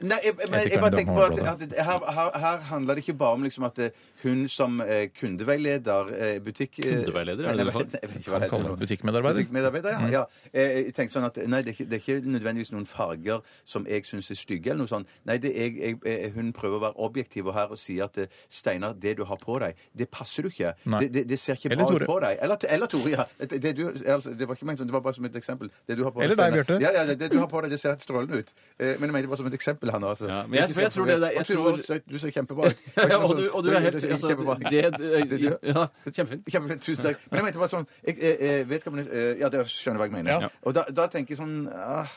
Nei, jeg, jeg, jeg, Etikerne, bare de tenker på har at, bra at det- her, her, her handler det ikke bare om liksom at eh, hun som eh, kundeveileder, eh, butikk... eh, Kundeveileder, er nei, det du nei, kaller- nei, jeg vet ikke hva Kaller det heter man nå. Butikkmedarbeider. Butikkmedarbeider, ja. ja. Mm. Eh, Jeg tenker sånn at nei, det er, ikke, det er ikke nødvendigvis noen farger som jeg syns er stygge, eller noe sånt. Nei, det er, jeg, jeg, hun prøver å være objektiv og her og si at eh, Steinar, det du har på deg, det passer du ikke. Nei. Det, det, det ser ikke Eller bra Tore. ut på deg. Eller, eller Tore, ja. Det, det, du, altså, det var ikke ment sånn, det var bare som et eksempel. Det du har på Eller deg, Steinar. Bjarte. Ja, ja, det, det du har på deg, det ser helt strålende ut. Eh, Men jeg mente bare som et eksempel her nå, altså. Ja, men jeg- for jeg tror det der- jeg Og Tore, tror- du ser- du ser kjempebra ut. og, sånn, du, og du er helt altså, Kjempebra. det, det, Det- ja, Kjempefint. Kjempefint, tusen takk. Men jeg mente bare sånn jeg, jeg, jeg vet hva man, eh, Ja, dere skjønner hva jeg mener. Ja. Og da, da tenker jeg sånn ah,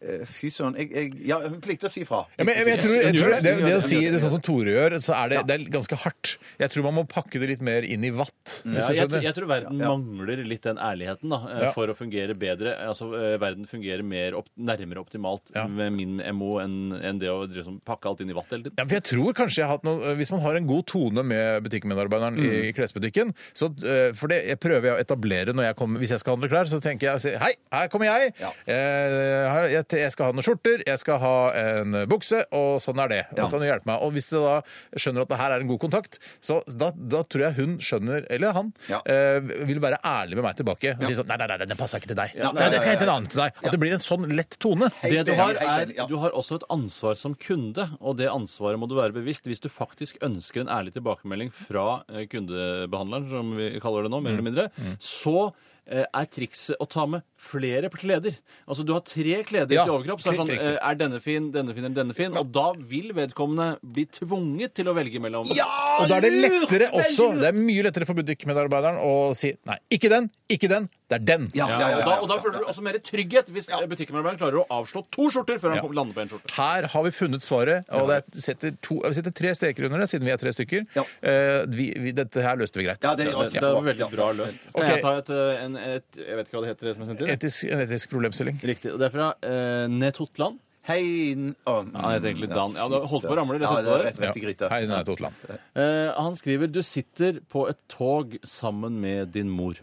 eh, Fy søren. Jeg, jeg, ja, hun plikter å si fra. Ja, men jeg, jeg tror, Yes, jeg hun tror gjør det, det. det, Hun gjør å det, hun si gjør det det. sånn som Tore gjør, så er det, det er ganske hardt. Jeg tror man må pakke det litt mer inn i vatt. Ja, Hvis du jeg, tror- skjønner. jeg tror verden mangler litt den ærligheten da, eh, Ja. for å fungere bedre. Altså, eh, Verden fungerer mer opp, nærmere optimalt Ja. med min MO enn enn det å liksom, pakke alt inn i vatt hele tiden. Ja, for jeg tror kanskje jeg har hatt noe, Hvis man har en god tone med butikkmedarbeideren i- i klesbutikken så, eh, For det jeg prøver jeg å etablere når jeg kommer, hvis jeg skal handle klær. Så tenker jeg Hei, her kommer jeg! Eh, her, jeg! Jeg skal ha noen skjorter, jeg skal ha en bukse, og sånn er det. Da kan du hjelpe meg. Og hvis du da skjønner at det her er en god kontakt, så da, da tror jeg hun skjønner, eller han, Ja. eh, vil være ærlig med meg tilbake og si sånn Nei, nei, nei, den passer ikke til deg. Ja. Nei, det skal jeg hente en annen til deg. At det blir en sånn lett tone. Det du enig, har, helt er, enig, ja. du har også et ansvar som kunde, og det ansvaret må du være bevisst hvis du faktisk ønsker en ærlig tilbakemelding fra eh, kundebehandleren, som vi kaller det nå, mer eller mindre. Så eh, er trikset å ta med flere kleder. Altså du har tre kleder Ja, til overkropp. Så er, det sånn, riktig, riktig. eh, er denne fin, denne fin eller denne fin? Og da vil vedkommende bli tvunget til å velge mellom. Og da er det lettere også, det er mye lettere for butikkmedarbeideren å si nei, ikke den, ikke den, det er den. og, da, og da føler du også mer trygghet hvis eh, butikkmedarbeideren klarer å avslå to skjorter før han Ja. lander på en skjorte. Her har vi funnet svaret, og det er- setter, to, vi setter tre streker under det, siden vi er tre stykker. Eh, vi, vi, dette her løste vi greit. Ja, det, det var veldig bra løst. Kan Ok. jeg ta et, eh, en, et Jeg vet ikke hva det heter, det som er sendt inn? Etisk, en etisk problemstilling. Riktig. Og det er fra eh, Nett Hotland. Hei Han heter egentlig Dan. Ja, du har holdt på å ramle rett Ja, det etterpå er rett, der. rett i gryta. Hei, Nett Hotland. Eh, han skriver du sitter på et tog sammen med din mor.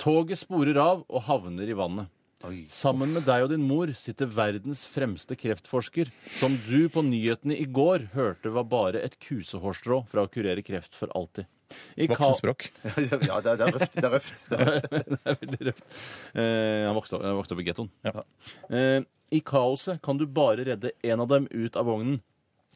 Toget sporer av og havner i vannet. Sammen med deg og din mor sitter verdens fremste kreftforsker, som du på nyhetene i går hørte var bare et kusehårstrå fra å kurere kreft for alltid. I ka- Voksenspråk. Ja, det er, det er røft. Det er røft. Det er- det er veldig røft. Eh, han vokste opp, han vokste opp i gettoen. Eh, I kaoset kan du bare redde én av dem ut av vognen.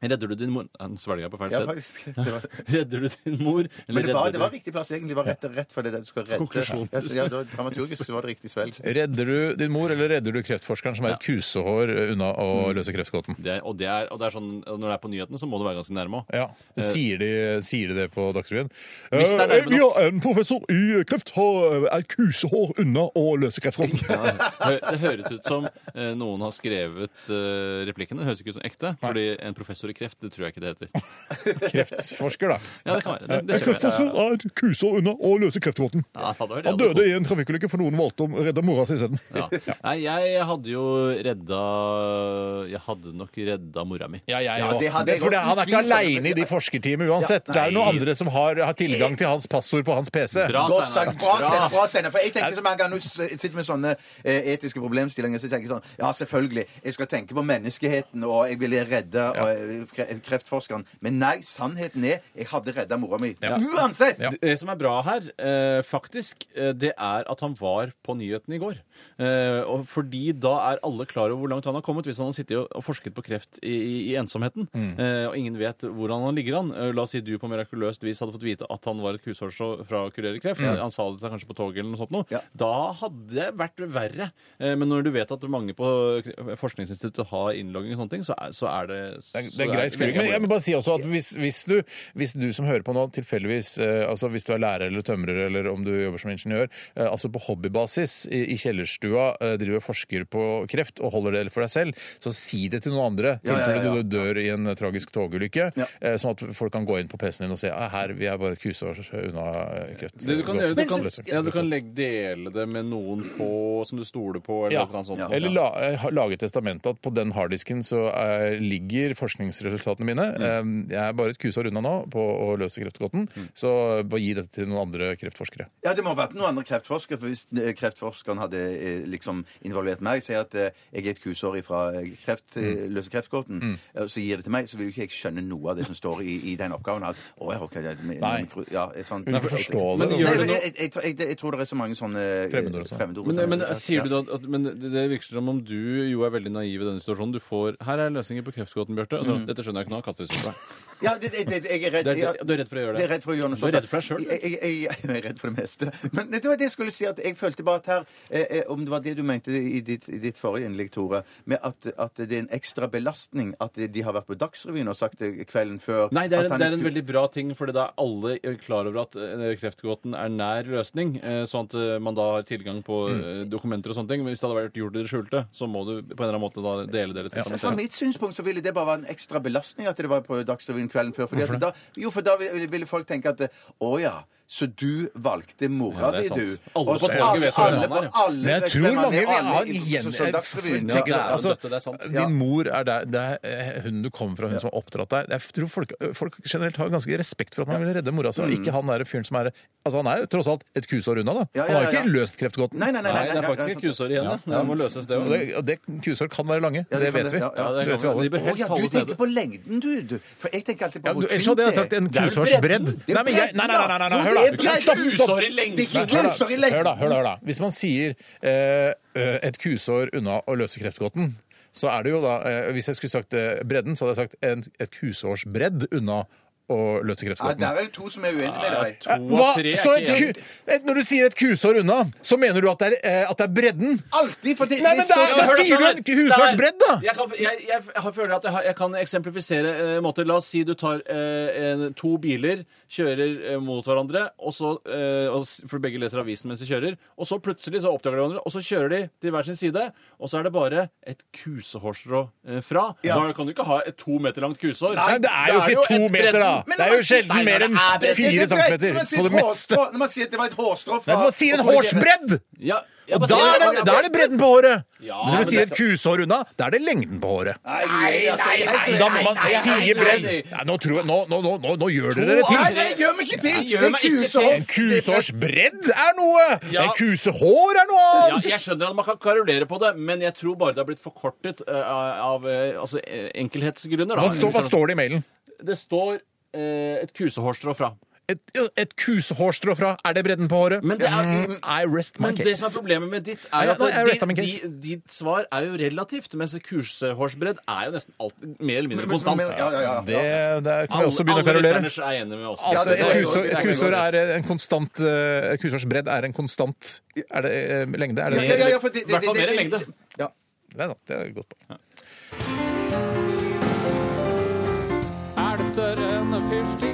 Redder du din mor Han svelga på feil Ja, sted. faktisk. Det var- Redder du din mor, eller Men det redder var, det du var riktig plass, egentlig. Det var rett, rett for det du skal redde. Konklusjon. Ja, så- ja, da- dramaturgisk så var det riktig svelg. Redder du din mor, eller redder du kreftforskeren som er et kusehår unna å Mm. løse kreftgåten? det er, og, det er, og det er sånn, og Når det er på nyhetene, så må det være ganske nærme òg. Ja, Sier de, sier de det på Dagsrevyen? Hvis det er nærme Eh, vi har en professor i kreft har er kusehår unna å løse kreftgåten. Det høres ut som eh, noen har skrevet eh, replikkene. Det høres ikke ut som ekte. Fordi en professor i kreft, det tror jeg ikke det heter. Kreftforsker, da. Ja, det kan være. Det, det En kjøper jeg. kreftforsker er et kusehår unna å løse kreftgåten. Ja, det hadde vært- Han det hadde døde i en trafikkulykke, for noen valgte å redde mora si isteden. Ja. Nei, jeg hadde jo redda Jeg hadde nok redda mora mi. Ja, jeg Ja, òg. det hadde jeg For det- gått han er ikke utvilsomt. aleine i de forskerteamene uansett. Ja, det er jo noen nei. andre som har, har tilgang til hans passord på hans PC. Bra, Godt sagt. Bra, Steinar. Bra, Steinar. For jeg tenker så mange ganger, Nå s- sitter med sånne eh, etiske problemstillinger så tenker jeg sånn Ja, selvfølgelig. Jeg skal tenke på menneskeheten, og jeg ville redde og, eh, kre- kreftforskeren. Men nei, sannheten er jeg hadde redda mora mi. Uansett! Det som er bra her, eh, faktisk, eh, det er at han var på nyhetene i går. Eh, og fordi da er alle klar over hvor langt han har kommet, hvis han har sittet og- og forsket på kreft i, i, i ensomheten. Mm. Eh, og ingen vet hvordan han ligger an. Eh, la oss si du på mirakuløst vis hadde fått vite at han var et kushårstrå fra å kurere kreft. Mm. Han sa det seg kanskje på toget eller noe sånt noe. Da hadde det vært verre. Eh, men når du vet at mange på kre- forskningsinstituttet har innlogging og sånne ting, så er, så er det så Det er grei skruing. Men jeg må bare si også at hvis, hvis, du, hvis du som hører på nå, tilfeldigvis eh, altså Hvis du er lærer eller tømrer, eller om du jobber som ingeniør, eh, altså på hobbybasis i, i kjellerstua eh, driver og forsker på kreft og holder det for deg selv, så si det til noen andre. Ja, ja, ja, Tilfelle ja. du dør i en tragisk togulykke. eh, Sånn at folk kan gå inn på PC-en din og se at her vi er bare et kusår unna eh, kreft. Det du kan gjøre, du Men- kan, ja, du kan legge, dele det med noen få som du stoler på, eller Ja. et eller annet sånt. Eller la, eh, ha- lage testamentet at på den harddisken så eh, ligger forskningsresultatene mine. Mm. Eh, jeg er bare et kusår unna nå på å løse kreftgåten, Mm. så bare gi dette til noen andre kreftforskere. Ja, det må ha vært noen andre kreftforskere, for hvis eh, kreftforskeren hadde eh, liksom involvert meg, sier at eh, jeg er et kusår fra kreft, eh, løse kreftgåten, Mm. eh, og så gir det til meg, så vil jo ikke jeg skjønne noe av det som står i, i den oppgaven. At, å, ja, ok, det, er med, Nei. med- Ja, er sant. Vil ikke forstå det. Men Nei, gjør men det nå- jeg, jeg, jeg, jeg tror det er så mange sånne eh, Fremmedord og sånn. fremmedord Men, og men, eh, sånn. sier du Ja. da at, men det det virker som om du jo er veldig naiv i denne situasjonen. Du får Her er løsningen på kreftgåten, Bjarte. Altså, Mm. Dette skjønner jeg ikke nå. Jeg Kaster det ut på deg. Ja, det, det, det, jeg er redd, Det er- ja. du er redd for å gjøre det. Jeg er redd for å gjøre noe Du er sånt. redd for deg selv, du. Jeg, jeg, jeg, jeg er redd for det meste. Men det var det jeg skulle si, at jeg følte bare at her eh, eh, Om det var det du mente i ditt, i ditt forrige innlegg, Tore, med at, at det er en ekstra belastning at de har vært på Dagsrevyen og sagt det kvelden før Nei, det er, at en, han det er en ikke- veldig bra ting, fordi da er alle klar over at eh, kreftgåten er nær løsning, eh, sånn at eh, man da har tilgang på eh, dokumenter og sånne ting. Men hvis det hadde vært gjort i det skjulte, så må du på en eller annen måte da dele dere til Sånn Så Fra mitt synspunkt så ville det bare være en ekstra belastning at det var på Dagsrevyen kvelden før. Fordi Hvorfor at da, jo, for da ville ville folk tenke at å ja, så du valgte mora Ja, det er di, sant. du. Alle Og på så- toget vet hvem alle han er, på- ja. Men alle jeg vet tror hvem han mange er, og vil alle ha i- en gjen... så- så Dagsrevyen, tenker, ja. altså, det er sant. Ja. Din mor er der, det er hun du kommer fra, hun som har oppdratt deg. Jeg tror folk, eh, folk generelt har ganske respekt for at man vil redde mora si, og ikke han der fyren som er Altså, han er jo tross alt et kusår unna, da. Mm. Ja, ja, Han har jo ja, ikke løst kreftgåten. Nei, nei, nei, Nei, det er nei, nei, faktisk nei, et kusår igjen, da. Det må løses, det også. Og Og det kusår kan være lange. Ja, det, det kan vet det. vi. Ja, ja, det vet vi det kan alle. det. Å, ja, du tenker på lengden, du. du. For jeg tenker alltid på Ja, hvor du- ellers tynt hadde jeg det er. sagt en Det er vel kursårsbredd. bredden. Det er Nei, men jeg- bredden, nei, nei, nei, nei, nei, da. hør Jo, da. det er Du kan bredden. ikke Stopp. kusår i Det er Nei, ikke kursår i lengden. Hør da, hør da, hør da. Hvis man sier eh, eh, et kusår unna å løse kreftgåten, så er det jo da eh, Hvis jeg skulle sagt eh, bredden, så hadde jeg sagt en, et kusårsbredd unna og Nei, løsegreftgodten. der er det to som er uenige med deg. Eh, Hva? Så et ku, et, når du sier et kusår unna, så mener du at det er, eh, at det er bredden? Alltid! For det, Nei, men det er da- så- da Hør sier du på meg. en husårsbredd, da! Jeg, kan, jeg, jeg har- føler at jeg, har, jeg kan eksemplifisere eh, måter. La oss si du tar eh, en, to biler, kjører eh, mot hverandre, og så, eh, og, s- for begge leser avisen mens de kjører, og så plutselig så oppdager de hverandre, og så kjører de til hver sin side, og så er det bare et kusehårstrå eh, fra. Da kan du ikke ha et to meter langt kusehår. Nei, det er jo Da ikke to et meter, da. bredden. Det er jo sjelden mer enn Det- det- det fire er bredt centimeter når man sier på det et meste. hårstrå- Når man sier at det var et hårstrå fra Nei, man sier en hårsbredd! Ja, jeg Og bare da sier- er, det, da er det bredden på håret. Ja, Men når men du sier et dette- kusehår unna, da er det lengden på håret. Nei, nei, altså, jeg- Da må man nei, nei, nei, si bredd. nei. Nei, Nå, tror jeg, nå, nå, nå, nå, nå gjør dere det Nei, til. nei, gjør meg ikke til! Gjør Det er meg ikke til. kusehår. En kusehårsbredd er noe! Ja. En kusehår er noe Ja, annet! jeg skjønner at man kan karolere på det, men jeg tror bare det har blitt forkortet eh, av eh, altså, eh, enkelhetsgrunner. Da. Hva står, hva står det i mailen? Det står eh, et kusehårstrå fra. Et, et kusehårstrå fra Er det bredden på håret? Men det er- Mm, I rest my Men det som er case. problemet med ditt, Nei, er at nei, jeg retta min ditt, case. ditt, ditt svar er jo relativt, mens kusehårsbredd er jo nesten alt, mer eller mindre konstant. Men- men- ja, ja, ja. Det, der kan vi også Alle begynne å karolere. lytterne er enige med oss. Ja, det Et tror jeg kusår- går- et det kusår er går- eh, en konstant eh, Et kusårsbredd er en konstant Er det eh, lengde? Er det, Ja, ja, ja, for det- I hvert fall mer enn lengde. Ja. det er sant. Det er godt på. Er det større enn en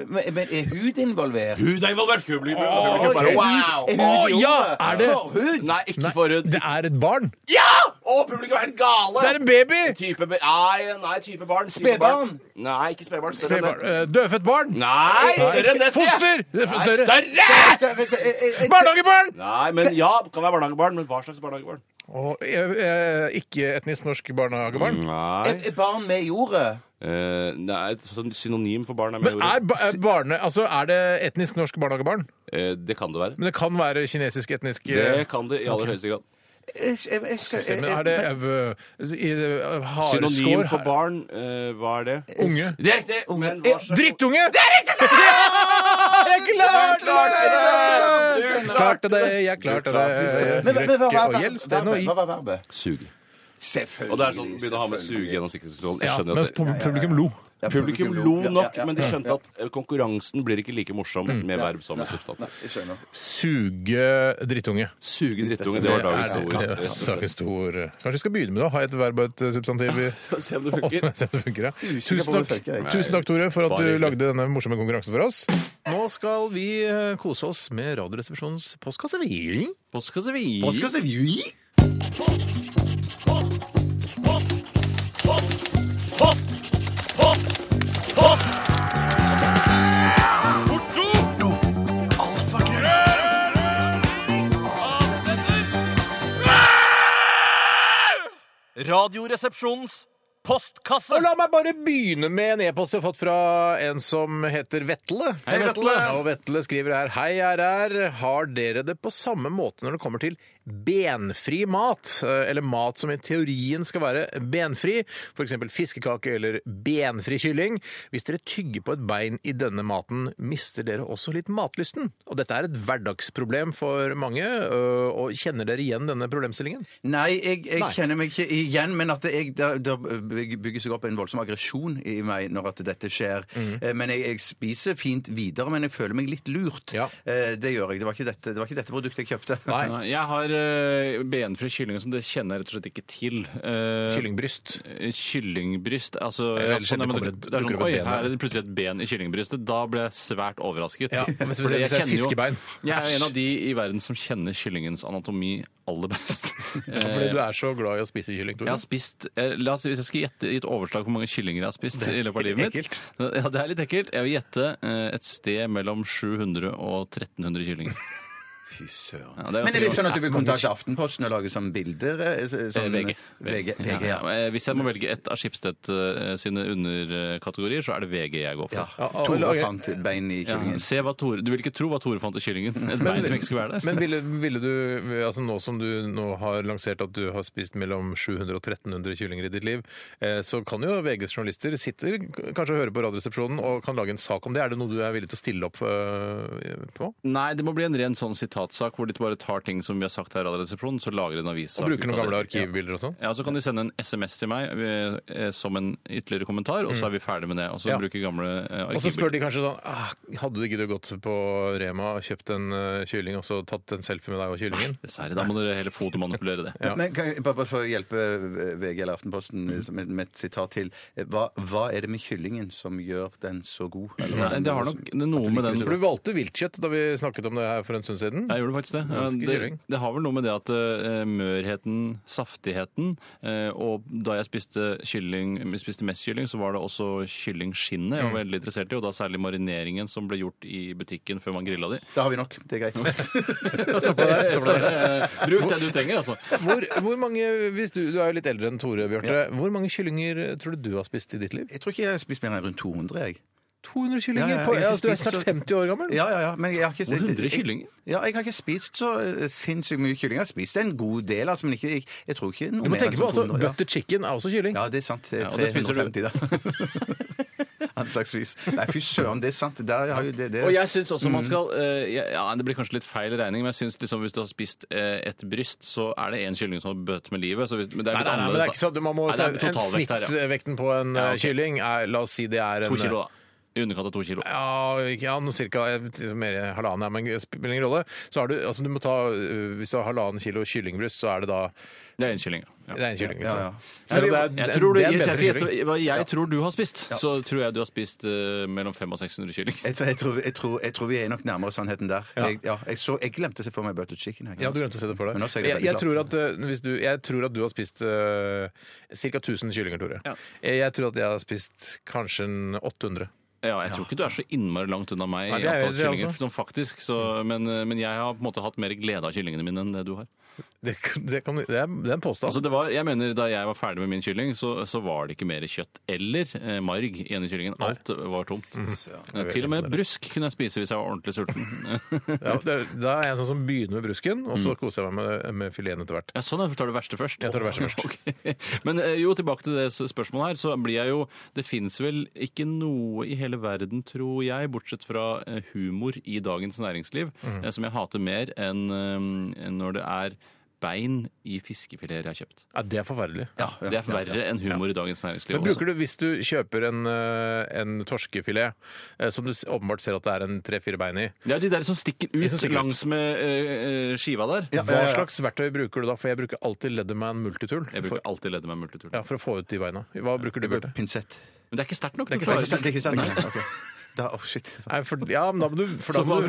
Men, men er hud involvert? Hud er involvert! Publikum Oi, bare er wow! hud- er hud i Å, ja, ordet? er det- Forhud? Nei, ikke Nei, forhud. det er et barn. Ja! Å, publikum er helt gale! Det er en baby! Type, be- nei, nei, type barn. type Spedbarn? barn. Nei, ikke spedbarn. Større enn Spedbarn. det. Eh, Dødfødt barn. Nei, større enn det, sier jeg. Foster! Det er Nei, Større. større! Skal- vent, eh, eh, eh, Barnehagebarn! Nei, men ja, kan være barnehagebarn, men hva slags barnehagebarn? Å, eh, eh, Ikke etnisk norsk barnehagebarn. Nei, Er er barn med i jordet? Eh, nei et sånn synonym for barn er med Men er, ba- er barne, altså, er det etnisk norsk barnehagebarn? Eh, Det kan det være. Men det kan være kinesisk etnisk eh, Det kan det i aller høyeste grad. Jeg- jeg- jeg- jeg- Men er det eh, i, eh, hareskår Synonym for her? Eh, barn, eh, hva er det? Unge. Det er riktig! Men hva slags- Drittunge! Det er riktig! Jeg klarte det! Du Jeg klarte det, jeg klarte det. Men, men, men hva Røkke var og gjelsten og verbet? Hva i- var verbet? Suge. Selvfølgelig. Og det er sånn begynner å ha med selvfølgelig. suge gjennom sikkerhetskontrollen. Jeg Ja, skjønner men at det- pub- publikum lo. Ja, Publikum lo Ja, nok, ja, ja. men de skjønte at eh, konkurransen blir ikke like morsom med verb som med Nei, substantiv. jeg skjønner. Suge drittunge. Suge drittunge, det var dagens er- ord. det er Dagens ord. Kanskje vi skal begynne med det? Ha et verb og et eh, substantiv i Se om det funker. Se om det funker, ja. Usikker på Tusen om det takk, funker, jeg. tusen takk, Tore, for at Bare du hyggelig. lagde denne morsomme konkurransen for oss. Nå skal vi eh, kose oss med Radioresepsjonens postkasse. vi. Postkasse vi. Postkasse vi. Hopp, hopp, hopp, hopp. Porto. Alfakrøll. Radioresepsjonens postkasse. Og la meg bare begynne med en e-post jeg har fått fra en som heter Vetle. Hei, Vetle. Og Vetle skriver her Hei, RR. Har dere det på samme måte når det kommer til benfri mat? Eh, Eller mat som i teorien skal være benfri, f.eks. fiskekake eller benfri kylling. Hvis dere tygger på et bein i denne maten, mister dere også litt matlysten. Og dette er et hverdagsproblem for mange. øh, Og kjenner dere igjen denne problemstillingen? Nei, jeg, jeg Nei. kjenner meg ikke igjen, men at jeg, da, da bygger seg opp en voldsom aggresjon i meg når at dette skjer. Mhm. Eh, Men jeg, jeg spiser fint videre, men jeg føler meg litt lurt. Eh, Det gjør jeg. Det var ikke dette, det var ikke dette produktet jeg kjøpte. Nei, Jeg har eh, benfri kylling som det kjenner jeg rett og slett ikke til. Eh, Kyllingbryst? Kyllingbryst. Altså, Det er ja, veldig sånn, sjelden men det det, kommer et- det er dukker sånn, opp et Oi, ben her der. er det plutselig et ben i kyllingbrystet. Da ble jeg svært overrasket. Ja, men hvis- Fordi hvis det er et kjenner jo- fiskebein. Jeg er en av de i verden som kjenner kyllingens anatomi aller best. Eh, Fordi du er så glad i å spise kylling, Jeg Tore. har spist, eh, la oss, si- Hvis jeg skal gjette i et overslag hvor mange kyllinger jeg har spist Det er i løpet av litt livet mitt Ja, Det er litt ekkelt. Jeg vil gjette eh, et sted mellom 700 og 1300 kyllinger. Fy søren. Ja, men er det sånn at du vil kontakte kontakte Aftenposten og lage sånne bilder? eh, så- Sånn, VG. VG, Ja, VG, ja. ja. Eh, Hvis jeg må velge ett av Skipstedt eh, sine underkategorier, så er det VG jeg går for. Ja, og- Tore fant bein i kyllingen. se hva Tore, du vil ikke tro hva Tore fant i kyllingen. Et bein som ikke skulle være der. Men ville, ville du, altså nå som du nå har lansert at du har spist mellom 700 og 1300 kyllinger i ditt liv, eh, så kan jo VGs journalister sitter k- kanskje og hører på Radioresepsjonen og kan lage en sak om det. Er det noe du er villig til å stille opp eh, på? Nei, det må bli en ren sånn sitatsak hvor de bare tar ting som vi har sagt her i Radioresepsjonen, så lager de en avissak. Og bruker ut av noen gamle det. arkivbilder og sånn? Ja, så kan de sende en SMS til meg eh, eh, som en ytterligere kommentar, og så er vi ferdig med det. Og så Ja. bruker gamle eh, Og så arkivbilder. spør de kanskje sånn ah, Hadde ikke du gått på Rema og kjøpt en eh, kylling og så tatt en selfie med deg og kyllingen? Dessverre, da må dere heller fotomanipulere det. Men kan jeg bare bare for å hjelpe VG eller Aftenposten med, med et sitat til. eh, Hva, hva er det med kyllingen som gjør den så god? Eller hva er Nei, det har som- nok det er noe med den For du valgte viltkjøtt da vi snakket om det her for en stund siden. Jeg gjorde faktisk det. Du valgte ikke Det, kylling. det har vel noe med det at eh, mørheten, saftigheten eh, Og da jeg spiste, kylling, spiste mest kylling, så var det også kyllingskinnet jeg var Mm. veldig interessert i. Og da særlig marineringen som ble gjort i butikken før man grilla de. Da har vi nok. Det er greit. Stoppa der, stoppa der. Eh, Bruk det du trenger, altså. Hvor, hvor mange, hvis du, du er jo litt eldre enn Tore, Bjarte. Hvor mange kyllinger tror du du har spist i ditt liv? Jeg tror ikke jeg har spist mer enn rundt 200, jeg. 200 Ja, kyllinger? ja, jeg på, har ikke ja, du er spist snart så- 50 år gammel? Ja, ja, ja. Men jeg har ikke Hvor 100 kyllinger? Ja, jeg har ikke spist så eh, sinnssykt mye kylling. Jeg har spist en god del, altså, men ikke, jeg, jeg sånn tror ikke noe Du må mer enn tenke på altså, 200, ja. Butter chicken er også kylling. Ja, det er sant. Det er Ja, og det spiser du. 350, da. Anslagsvis. Nei, fy søren, det er sant. Der har jo det, det. Og jeg synes også man Mm. skal eh, ja, ja, Det blir kanskje litt feil regning, men jeg synes liksom hvis du har spist eh, et bryst, så er det en kylling som har bøtt med livet. Så hvis, men det Nei, er litt nei, nei, men det er annerledes, altså. ikke sånn. Du- Man må Nei, ta det er en totalvekt her, ja. snittvekten på en Ja, eh, ok. kylling. Er, la oss si det er en To kilo, da. I underkant av to kilo. eh, Ja, ikke- ja noe cirka eh, liksom mer halvannen, ja, men det spiller ingen rolle. Så har du, altså, du må ta, eh, hvis du har halvannen kilo kyllingbryst, så er det da Det er en kylling. Ja. Det er en kylling, Ja, liksom. Selv ja. om det er- Jeg tror du, det er en bedre hvis jeg skal kylling. gjette hva jeg tror du har spist, så tror jeg du har spist eh, mellom 500 og 600 kylling. Jeg tror, jeg, tror, jeg, tror, jeg tror vi er nok nærmere sannheten der. Ja. Jeg, ja, jeg, så, jeg glemte å se for meg butter chicken. Jeg. Ja, du glemte å se det for deg. Men nå ser jeg, jeg, jeg, tror at, eh, hvis du, jeg tror at du har spist ca. 1000 kyllinger, Tore. Jeg, jeg tror at jeg har spist kanskje en 800. Ja, jeg tror ikke du er så innmari langt unna meg Nei, i det er antall jeg kyllinger, også. sånn faktisk. Så, men, eh, men jeg har på en måte hatt mer glede av kyllingene mine enn det du har. Det, kan- det, kan, det, er, det er en påstand. Altså det var, jeg mener Da jeg var ferdig med min kylling, så, så var det ikke mer kjøtt eller eh, marg i denne kyllingen. Alt var tomt. Eh, Til og med brusk kunne jeg spise hvis jeg var ordentlig sulten. ja, det, da er jeg sånn som begynner med brusken, og Mm. så koser jeg meg med, med fileten etter hvert. Ja, sånn, ja, for tar du verste først? Jeg tar det verste først. Ok. Men eh, jo, tilbake til det s- spørsmålet her, så blir jeg jo Det fins vel ikke noe i hele verden, tror jeg, bortsett fra eh, humor i dagens næringsliv, Mm. eh, som jeg hater mer enn eh, enn når det er bein i fiskefileter jeg har kjøpt. Ja, det er forferdelig. Ja, Det er verre enn humor i dagens Men næringsliv. bruker du, Hvis du kjøper en, eh, en torskefilet eh, som du s- åpenbart ser at det er en tre-fire bein i Det er de der som stikker De ut som stikker ut. langs med eh, eh, skiva der. Hva slags verktøy bruker du da? For jeg bruker alltid Leatherman multitool. Jeg bruker For, alltid leddet med multitool. ja, for å få ut de beina. Hva bruker du, Bjarte? Pinsett. Men det er ikke sterkt nok. Det er du ikke klarer sterkt. Det er ikke sterkt. Det er ikke sterkt. Da, oh shit. Nei, for, ja, men da må du for da må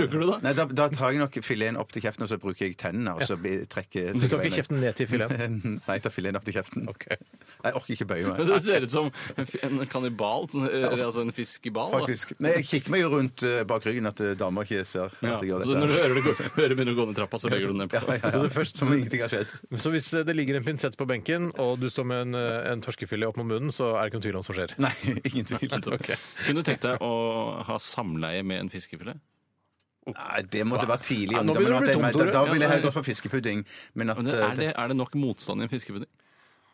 Nei, da, da tar jeg nok fileten opp til kjeften, og så bruker jeg tennene. og så blir- trekker... Du tar ikke kjeften ned til fileten? Nei, jeg tar fileten opp til kjeften. Jeg orker ikke bøye meg. Men det ser ut som en fi- en kannibal. sånn, eh, Altså en fiskebal. da. Faktisk. Men jeg kikker meg jo rundt eh, bak ryggen at eh, damer ikke ser Ja. at jeg gjør Så når du dette. hører det går, hører begynner å gå ned trappa, så legger du den ned på. Ja, ja, ja. Som om ingenting har skjedd. Så hvis eh, det ligger en pinsett på benken, og du står med en, eh, en torskefilet opp mot munnen, så er det ikke noen tvil om hva som skjer? Nei, ingen tvil. Ok. Kunne du tenkt deg å ha samleie med en fiskefilet? Nei, det måtte være tidlig i Ja, nå ungdommen. begynner at det å bli jeg- tomt, Da, da Tore. ville jeg heller Ja, gå for fiskepudding. Men at Men det, eh, er, det, er det nok motstand i en fiskepudding?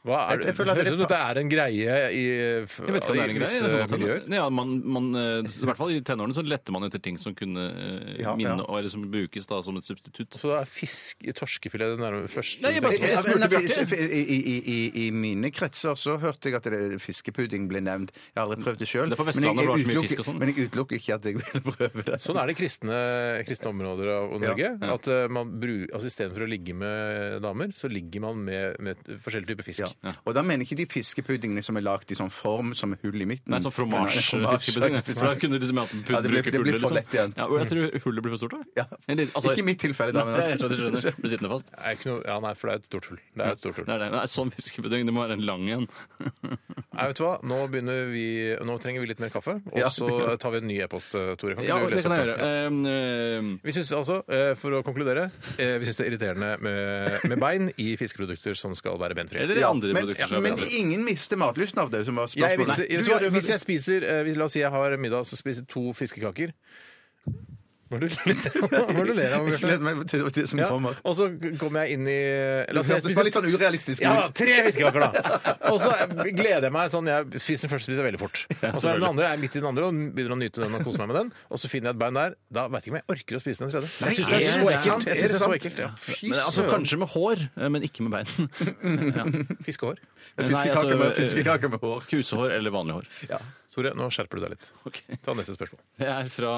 Hva er, Jeg- jeg føler at høres det ut som dette er en greie i, Jeg vet ikke om det er en i greie. visse det kan godt hende. eh, miljøer. Ja, man, man, eh, I hvert fall i tenårene så lette man etter ting som kunne eh, Ja, minne, ja. eller som brukes da som et substitutt. Så det er fisk, torskefilet det nærmere første Nei, jeg bare Altså, du tenker? spør. spurte Bjarte. I, i, i, i, I mine kretser så hørte jeg at det, fiskepudding ble nevnt. Jeg har aldri prøvd det sjøl. Det er på Vestlandet hvor det er så mye fisk og sånn. men jeg utelukker ikke at jeg vil prøve det. Sånn er det i kristne, kristne områder av av Norge. ja. At eh, man bru- altså Istedenfor å ligge med damer, så ligger man med, med forskjellige typer fisk. Ja. Og da mener jeg ikke de fiskepuddingene som er lagd i sånn form som er hull i midten. Nei, sånn fromasjefiskepudding. Mm. Fromasje. For da kunne du liksom hatt en pudd- Ja, det blir- bruke det blir hullet, for lett igjen. Ja, og jeg tror hullet blir for stort. da. Ja. Eller, altså- Ikke i mitt tilfelle, da. Men Nei, jeg skjønner, jeg skjønner. Blir sittende fast. Det Er ikke noe, ja, nei, for det er et stort hull. Det er et stort hull. Det er det. Nei, sånn fiskepudding, det må være en lang en. Nei, vet du hva? Nå, begynner vi, nå trenger vi litt mer kaffe, og Ja. så tar vi en ny e-post, eh, Tore. Kan ikke Ja, du lese det kan jeg opp den? gjøre. Ehm, Vi synes altså, eh, for å konkludere, eh, vi syns det er irriterende med, med bein i fiskeprodukter som skal være eh, benfrie. Eller Ja, andre men, produkter. men som er bra. ingen mister matlysten av det, som var Jeg, hvis, spørsmålet. Nei, vet du du, hva, gjør det- hvis jeg spiser eh, hvis, La oss si jeg har middag så spiser jeg to fiskekaker. Hva er det du hva er det du ler Jeg av? gleder Bjarte? meg til til det som Ja, kommer. og så kommer jeg inn i La Det oss si jeg hørtes spiser bare litt sånn urealistisk Ja, ut. tre fiskekaker, da! Og så gleder jeg meg sånn jeg, spiser Den første spiser jeg veldig fort. Og så er den andre, jeg er midt i den andre og begynner å nyte den og kose meg med den. Og så finner jeg et bein der. Da veit jeg ikke om jeg orker å spise den tredje. Jeg syns er det er det så ekkelt. sant? Jeg Er det synes det er så sant? ekkelt, ja. Men, altså, kanskje med hår, eh, men ikke med bein. Fiskehår. Fiskekaker altså, med, eh, fiskekaker med hår. Kusehår eller vanlig hår. Tore, nå skjerper du deg litt. Ta neste spørsmål. Det er fra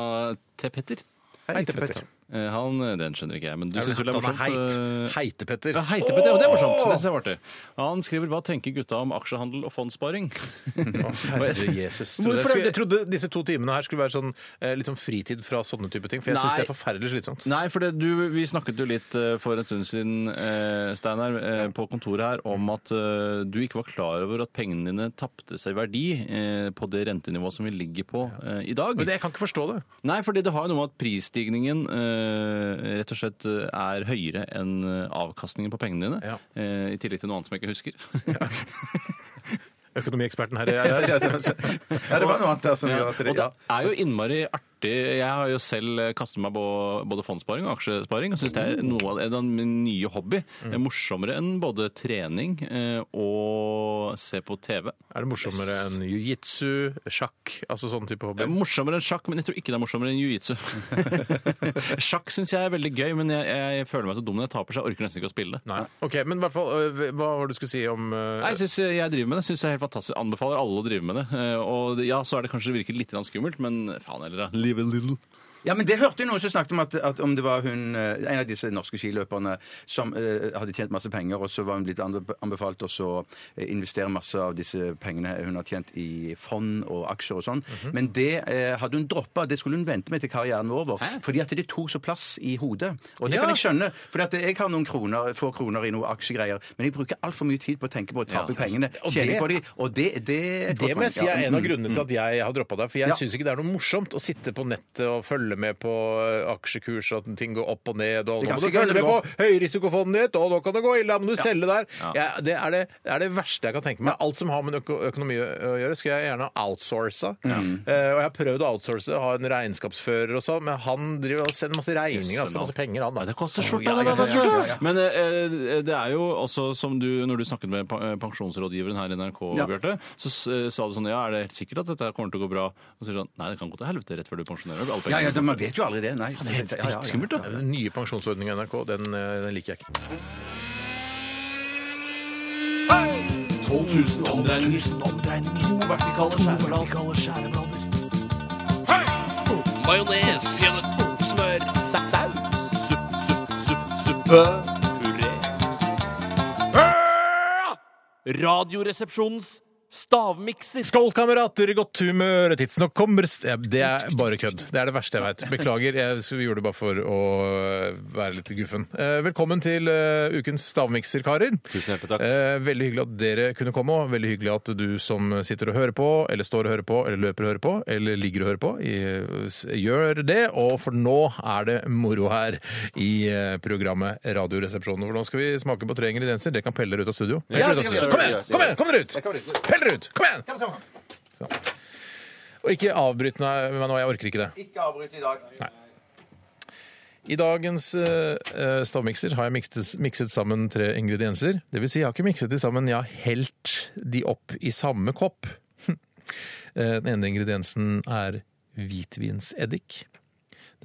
T. Petter. Hei til Petter. Eh, Han, Den skjønner ikke jeg, men du syns vel det er Han er morsomt? eh, heit. Heite-Petter. Ja, heite Petter, det er morsomt. Det synes jeg var artig. Han skriver hva tenker gutta om aksjehandel og fondssparing? Å, Herre Jesus. Trodde jeg, Hvorfor er skulle, det- jeg trodde disse to timene her skulle være sånn, eh, litt sånn fritid fra sånne type ting, for jeg syns Nei. det er forferdelig slitsomt. Nei, for det, du, vi snakket jo litt eh, for en stund siden, eh, Steinar, eh, på kontoret her, om at eh, du ikke var klar over at pengene dine tapte seg i verdi eh, på det rentenivået som vi ligger på eh, i dag. Men det, jeg kan ikke forstå det. Nei, fordi det har jo noe med at prisstigningen eh, rett og slett eh, er høyere enn eh, avkastningen på pengene dine. Ja. Eh, I tillegg til noe annet som jeg ikke husker. Økonomieksperten her. Ja, Jeg, det var noe annet der som gjør at det Og det er jo innmari artig. Jeg har jo selv kastet meg på både fondssparing og aksjesparing, og syns det er noe av det- en av min nye hobby. Det er morsommere enn både trening eh, og se på TV. Er det morsommere enn jiu-jitsu, sjakk, altså sånn type Det hobby? er morsommere enn sjakk, men jeg tror ikke det er morsommere enn jiu-jitsu. sjakk syns jeg er veldig gøy, men jeg, jeg føler meg så dum når jeg taper, så jeg orker nesten ikke å spille. Nei. Ok, men i hvert fall, øh, hva var det du skulle si om øh, Nei, jeg synes jeg driver med det. Synes jeg er helt fantastisk. Anbefaler alle å drive med det. Eh, Og det- ja, så er det kanskje det virker litt grann skummelt, men faen heller, da. Live a little. Ja, men det hørte jo noen som snakket om at, at om det var hun, eh, en av disse norske skiløperne som eh, hadde tjent masse penger, og så var hun blitt anbe- anbefalt å så eh, investere masse av disse pengene hun har tjent i fond og aksjer og sånn. Mhm. Men det eh, hadde hun droppa. Det skulle hun vente med til karrieren var over. Fordi at det tok så plass i hodet. Og det kan jeg skjønne. For at jeg har noen kroner, få kroner i noen aksjegreier, men jeg bruker altfor mye tid på å tenke på å tape pengene, Og tjene det- på de, og det, det er et Det godt må poeng, jeg si er ja. Mm-hmm. en av grunnene til at jeg har droppa deg. For jeg Ja. syns ikke det er noe morsomt å sitte på nettet og følge med på øh, aksjekurs og at ting går opp og ned. Og Det er nå må du ganske gøy følge når med det på går- høyrisikofondet ditt, og nå kan det gå ille, da må du selge der. Jeg- det, er det, det er det verste jeg kan tenke meg. Alt som har med øko økonomi å å gjøre, skulle jeg gjerne outsourca. Eh, og jeg har prøvd å outsource, ha en regnskapsfører og sånn, men han driver og sender masse regninger, altså masse penger, han da. Nei, det koster skjorta! ja, det koster ja, ja, ja, skjorta. Men eh, eh, det er jo også som du, når du snakket med pa- eh, pensjonsrådgiveren her i NRK, Bjarte, så s- eh, sa du sånn Ja, er det helt sikkert at dette kommer til å gå bra? Og så sier du sånn Nei, det kan gå til helvete rett før du pensjonerer deg. Alle Ja, ja, pengene det- man vet jo aldri det. Nei. er helt- helt skummelt, da. Den nye pensjonsordningen i NRK, den, eh, den liker jeg ikke. 12 000 omdreininger. To vertikale skjæreblader. Majones. Smør. Saus. Supp, supp, supp, suppe. Puré. Radioresepsjonens Stavmikser. Skål, kamerater! Godt humør! Tidsnok kommer st- Ja, Det er bare kødd. Det er det verste jeg veit. Beklager. Jeg s- gjorde det bare for å være litt guffen. Eh, Velkommen til eh, ukens stavmikser, karer. Tusen hjertelig takk. Eh, Veldig hyggelig at dere kunne komme, og veldig hyggelig at du som sitter og hører på, eller står og hører på, eller løper og hører på, eller ligger og hører på, i- s- gjør det. Og for nå er det moro her i eh, programmet Radioresepsjonen. For nå skal vi smake på tre ingredienser. Det kan pelle dere ut av studio. Pelle Ja, dere ut av det kan vi studio. Kom gjøre. igjen! Kom igjen! Kom dere ut! Pell dere ut! Kom igjen! Sånn. Og ikke avbryt meg meg nå, jeg orker ikke det. Ikke avbryt i dag. I dagens eh, eh, stavmikser har jeg mikset, mikset sammen tre ingredienser. Det vil si, jeg har ikke mikset de sammen, jeg har helt de opp i samme kopp. Eh, Den ene ingrediensen er hvitvinseddik.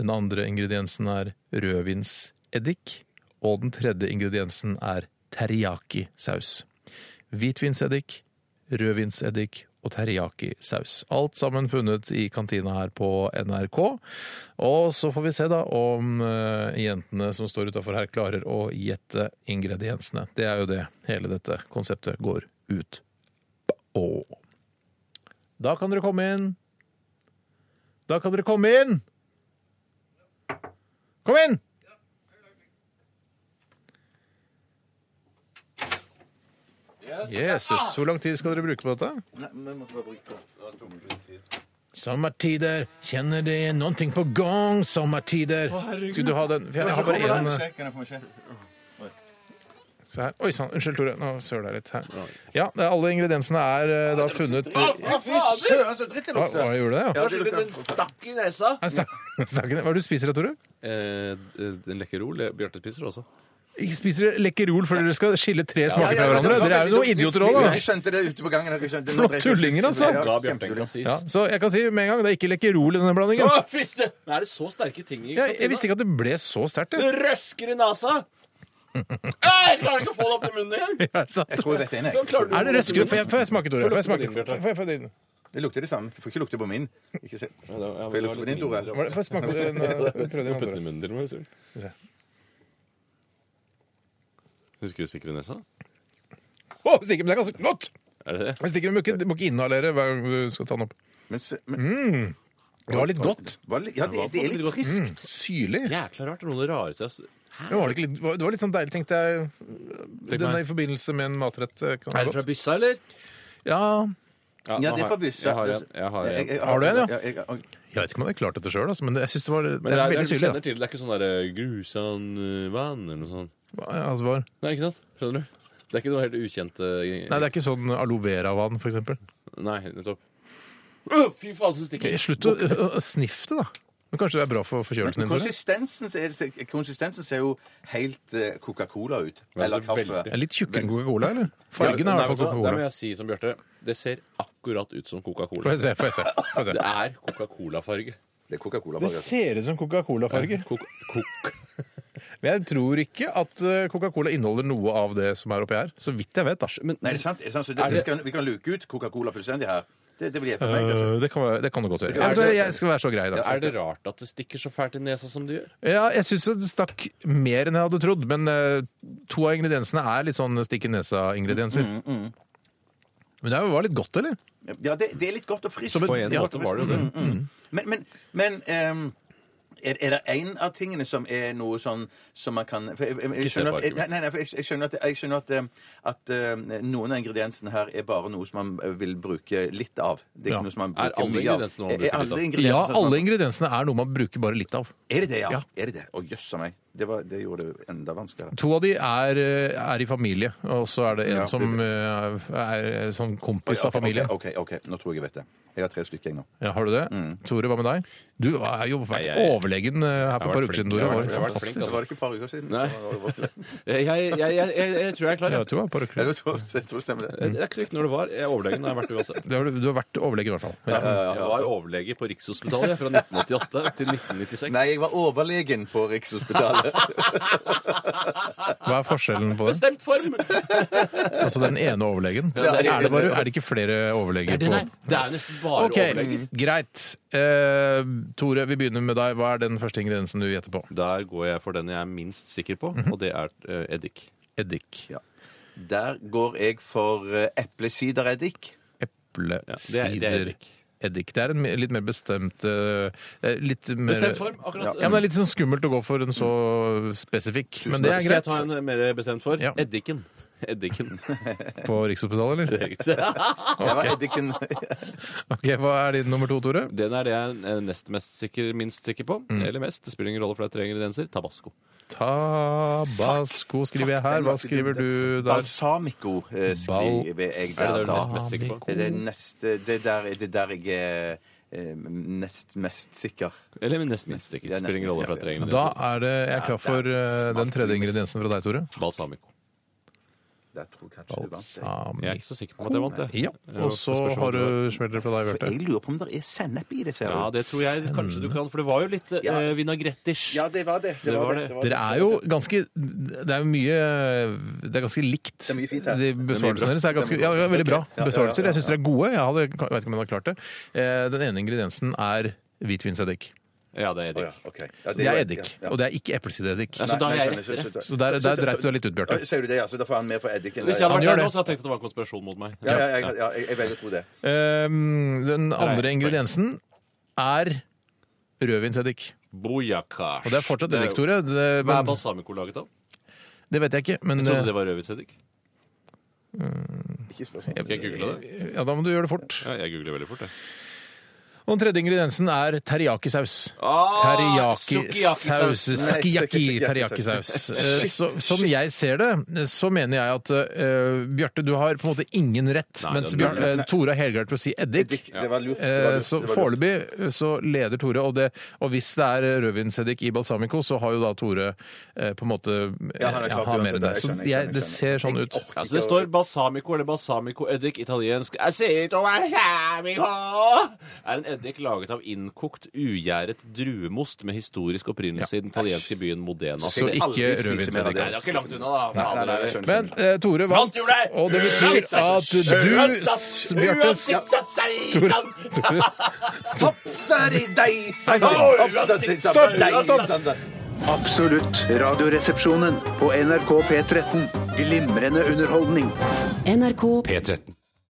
Den andre ingrediensen er rødvinseddik. Og den tredje ingrediensen er teriyaki-saus. Hvitvinseddik, rødvinseddik og teriyaki-saus. Alt sammen funnet i kantina her på NRK. Og så får vi se da om eh, jentene som står utafor her, klarer å gjette ingrediensene. Det er jo det hele dette konseptet går ut på. Da kan dere komme inn. Da kan dere komme inn! Kom inn! Jesus, hvor lang tid skal dere bruke på dette? Nei, vi måtte bare bruke Sommertider, kjenner det er noen ting på gang, sommertider. Skulle du ha den? For jeg, jeg har bare én eh, se her. Oi sann, unnskyld, Tore. Nå søler jeg litt her. Ja, det er- alle ingrediensene er eh, da funnet Hva, Fy søren, så dritt det hva gjorde det? Ja? det lukter Stakk i nesa. Nei, snak- snakken- Hva er det du spiser da, Tore? Eh, en lekkerol. eh, Bjarte spiser også. Ikke spiser Lekkerol før dere skal skille tre smaker fra Ja, ja, hverandre? det var Dere er jo noen veldig dumt. idioter Vi- òg, vi- da. Vi skjønte det ute på gangen. dere skjønte det. Nå For dreier jeg- tullinger, altså. Ja, Ga Bjarte en kjempebra. kassis. Ja, så jeg kan si med en gang, det er ikke Lekkerol i denne blandingen. Å, fytte! Nå er det så sterke ting i Ja, jeg visste ikke at det ble så sterkt, Det jeg. røsker i nesa! Ah, jeg klarer ikke å få det opp i munnen igjen! Er det sant? Jeg tror jeg vet en, jeg. Hvordan klarer du Er det røskere? Får jeg, får jeg smake, Tore? Får jeg smake? Får jeg- får jeg få din? Det lukter det samme. Du får ikke lukte på min. Ikke se. Ja, det var- ja, Får det var jeg lukte på litt din, mindre. Tore? Hva er det- Får jeg smake på den? eh, Prøv din, Putt den Tore. i munnen din, må du si. Skal vi se. Husker du sikre nesa? Å, stikker, men det er ganske godt! Er det det? Men stikker, du må ikke, du må ikke inhalere hver gang du skal ta den opp. Men, se- men, Det var litt godt. Var det- ja, det, det er litt friskt. Syrlig. Jækla rart. Det er noe av det rareste jeg har s- Men var det, ikke litt, var- det var litt sånn deilig, tenkte jeg. Tenk Den meg. er i forbindelse med en matrett eh, kan Er være det fra godt. byssa, eller? Ja, Ja, det er fra byssa. Byssa. Jeg har en. Jeg har en. Har du en, ja? jeg- jeg- jeg vet ikke om jeg hadde klart dette sjøl, men det- jeg synes det var Men det det er, er det, er, veldig du syrlig. da. kjenner til, det er ikke sånn der eh, grusan eh, vann eller noe sånt. Hva- ja, altså, hva- Nei, ikke sant? Skjønner du? Det er ikke noe helt ukjent eh, Nei, det er ikke sånn aloe vera-vann, for eksempel. Nei, nettopp. Åh, fy faen, så stikker Ok, det. Slutt å, å, å sniffe det, da. Men kanskje det er bra for forkjølelsen din? Tore? Konsistensen ser, ser- konsistensen ser jo helt eh, Coca-Cola ut. Eller altså, kaffe. veldig. Er litt tjukkere enn Coca-Cola, eller? Fargen Nei, er i hvert vet fall du hva? Der må Coca-Cola. jeg si som Bjarte. Det ser akkurat ut som Får Coca-Cola. jeg se, får jeg se. Får jeg Det se. er Coca-Cola-farge. Det er Coca-Cola. Det ser ut som Coca-Cola-farge. Coca- Coca- Men jeg tror ikke at eh, Coca-Cola inneholder noe av det som er oppi her. Så vidt jeg vet, da. Men Nei, det er sant. Er det sant? Så det, vi, kan, vi kan luke ut Coca-Cola fullstendig her. Det, det vil hjelpe meg. kanskje. Øh, det, kan, være- det kan du godt gjøre. er Jeg, det- jeg skal være så grei, da. er det rart at det stikker så fælt i nesa som det gjør? Ja, jeg syns det stakk mer enn jeg hadde trodd, men eh, to av ingrediensene er litt sånn stikk i nesa-ingredienser. Mm, Men det var litt godt, eller? Ja, det, det er litt godt og friskt. Som et- På en Ja, måte var det Mm. jo det. Mm, Men, men, men ehm, er, er det en av tingene som er noe sånn som man kan for jeg, jeg, jeg Ikke se skjønner på at, nei, nei, nei, for jeg, jeg skjønner at, jeg skjønner at, ehm, at ehm, noen av ingrediensene her er bare noe som man eh, vil bruke litt av. Det er Ja. ikke noe som man Er bruker alle mye av. ingrediensene noe man bruker litt av? ingrediensene Ja, som man- alle ingrediensene er noe man bruker bare litt av. Er det det, ja? Ja. Er det det? Å, jøss a meg. Det, var, det gjorde det enda vanskeligere. To av de er, eh, er i familie, og så er det en Ja, det- som eh, er sånn kompis av Ok, familie. OK, ok, ok. nå tror jeg jeg vet det. Jeg har tre stykker, jeg nå. Ja, har du det? Tore, hva med deg? Du er jo vært Mm. Nei, jeg- overlegen eh, her for har et par vært uker flink. siden, Jeg Tore. har Det vært- jeg har var vært flink, altså. Så fantastisk. var det ikke et par uker siden. Nei. Så var det- Jeg, jeg, jeg, jeg, jeg tror jeg er klar. Ja, Jeg. jeg tror det var et par uker siden. Jeg tror jeg tror det stemmer, det. Det er ikke så viktig når det var. Jeg er overlegen. Jeg har vært det uansett. Du har- Du har vært overlege, i hvert fall. Ja. Jeg var overlege på Rikshospitalet jeg, fra 1988 til 1996. Nei, jeg var overlegen på Rikshospitalet. Hva er forskjellen på det? Bestemt form! Altså den ene overlegen? Ja, det er- Er det, bare, er det ikke flere overleger på Det er nesten bare Ok, overleger. greit. Eh, Tore, vi begynner med deg. Hva er den første ingrediensen du gjetter på? Mhm. Der går jeg for den jeg er minst sikker på, og det er eh, eddik. Eddik. Der går jeg for eh, eplesidereddik. eple, det er- sider det er eddik. Eddik. Det er en me- litt mer bestemt eh, eh, litt mer, Bestemt form, akkurat. Ja. ja, men Det er litt sånn skummelt å gå for en så spesifikk, men det er Skal jeg greit. ta eh, en mer bestemt for? Eddiken. Eddiken. På Rikshospitalet, eller? Det var eddiken. eh, Ok, Hva er din nummer to, Tore? Den er det jeg er nest mest sikker, minst sikker på. Mm. Eller mest. Det spiller ingen rolle, for det er tre ingredienser. Tabasco. Tabasco skriver jeg her. Hva skriver du der? Balsamico eh, skriver jeg Er det det du er da. nest mest sikker på? Det er det neste, det der, det der jeg er eh, nest mest sikker. Eller nest minst sikker. Ja, nest Spiller ingen rolle, minst for det er tre sikker. Da er det, jeg er Ja, klar det for er eh, den smalt. tredje ingrediensen fra deg, Tore. Balsamico. Jeg tror kanskje det vant. Balsamico. Jeg er ikke så sikker på om at jeg vant, jeg. Ja, Og så Spørs hva har det du var. smeller fra deg, For jeg Bjarte. lurer på om det er sennep i det, ser du. Ja, det tror jeg kanskje du kan, for det var jo litt Ja. eh, vinagrettish. Ja, det var det. Det, var det. det, var det. Dere er jo ganske Det er jo mye Det er ganske likt. Det er mye fint her. De Det er mye bra. Besvarelsene deres er ganske Det er ja, mye bra. veldig bra. Ok. Ja, ja, ja, Besvarelser. ja, Jeg syns dere er gode. Jeg hadde, jeg vet ikke om jeg hadde klart det. Eh, Den ene ingrediensen er hvitvinseddik. Ja, det er eddik. Å, ja, ok. Ja, Det var- er eddik, ja, ja. og det er ikke eplesideeddik. Ja, så da er Nei, jeg nei, skjønner, rettere. skjønner, Så der- skjønner. der dreit du deg litt ut, Bjarte. Ja, Sier du det, ja? Så da får han mer for eddiken. Hvis jeg hadde Han gjør vært der nå, det. så hadde jeg tenkt at det var en konspirasjon mot meg. Ja, ja, jeg, ja, jeg, jeg velger å tro det. Ehm, Den Greit, andre poeng. ingrediensen er rødvinseddik. Bojaka. Og det er fortsatt eddik, jo- Tore. Det, Hva er men, balsamico laget av? det vet jeg ikke. Men Jeg trodde det var rødvinseddik. Ikke spørsmål. Skal jeg google det? eh, ja, da må du gjøre det fort. Ja, jeg googler veldig fort, jeg. Og den tredje ingrediensen er teriyaki-saus. Ah, Teriyaki-saus. sukiyaki-saus. Nei, sukiyaki- Sukiyaki-teriyaki-saus. Eh, så- Som jeg ser det, så mener jeg at eh, Bjarte, du har på en måte ingen rett. Nei, mens det- Bjarte, nei, eh, nei. Tore har helgardert på å si eddik. Eddik. Det var lurt. det var Eh, lurt, Så det var lurt. foreløpig eh, så leder Tore, og, det, og hvis det er rødvinseddik i balsamico, så har jo da Tore eh, på en måte eh, Ja, han har klart har uansett mer enn det. det. Jeg Så skjønner, jeg jeg, skjønner, det jeg ser sånn skjønner. ut. Jeg orker Ja, så Altså, det ikke å- står balsamico eller balsamico-eddik italiensk. Aceto balsamico Er en eddik laget av innkokt, ugjæret druemost med historisk opprinnelse i den italienske byen Modena. Så Jeg vil aldri ikke spise mer av rødvinseddik. det, Nei, det er ikke langt unna, da. Nei, nei, nei, jeg Fader. skjønner, Men skjønner. eh, Tore vant, Gratulerer! og det betyr at du, Bjarte Tore Stopp deg! Absolutt radioresepsjonen på NRK P13. Glimrende underholdning. P13.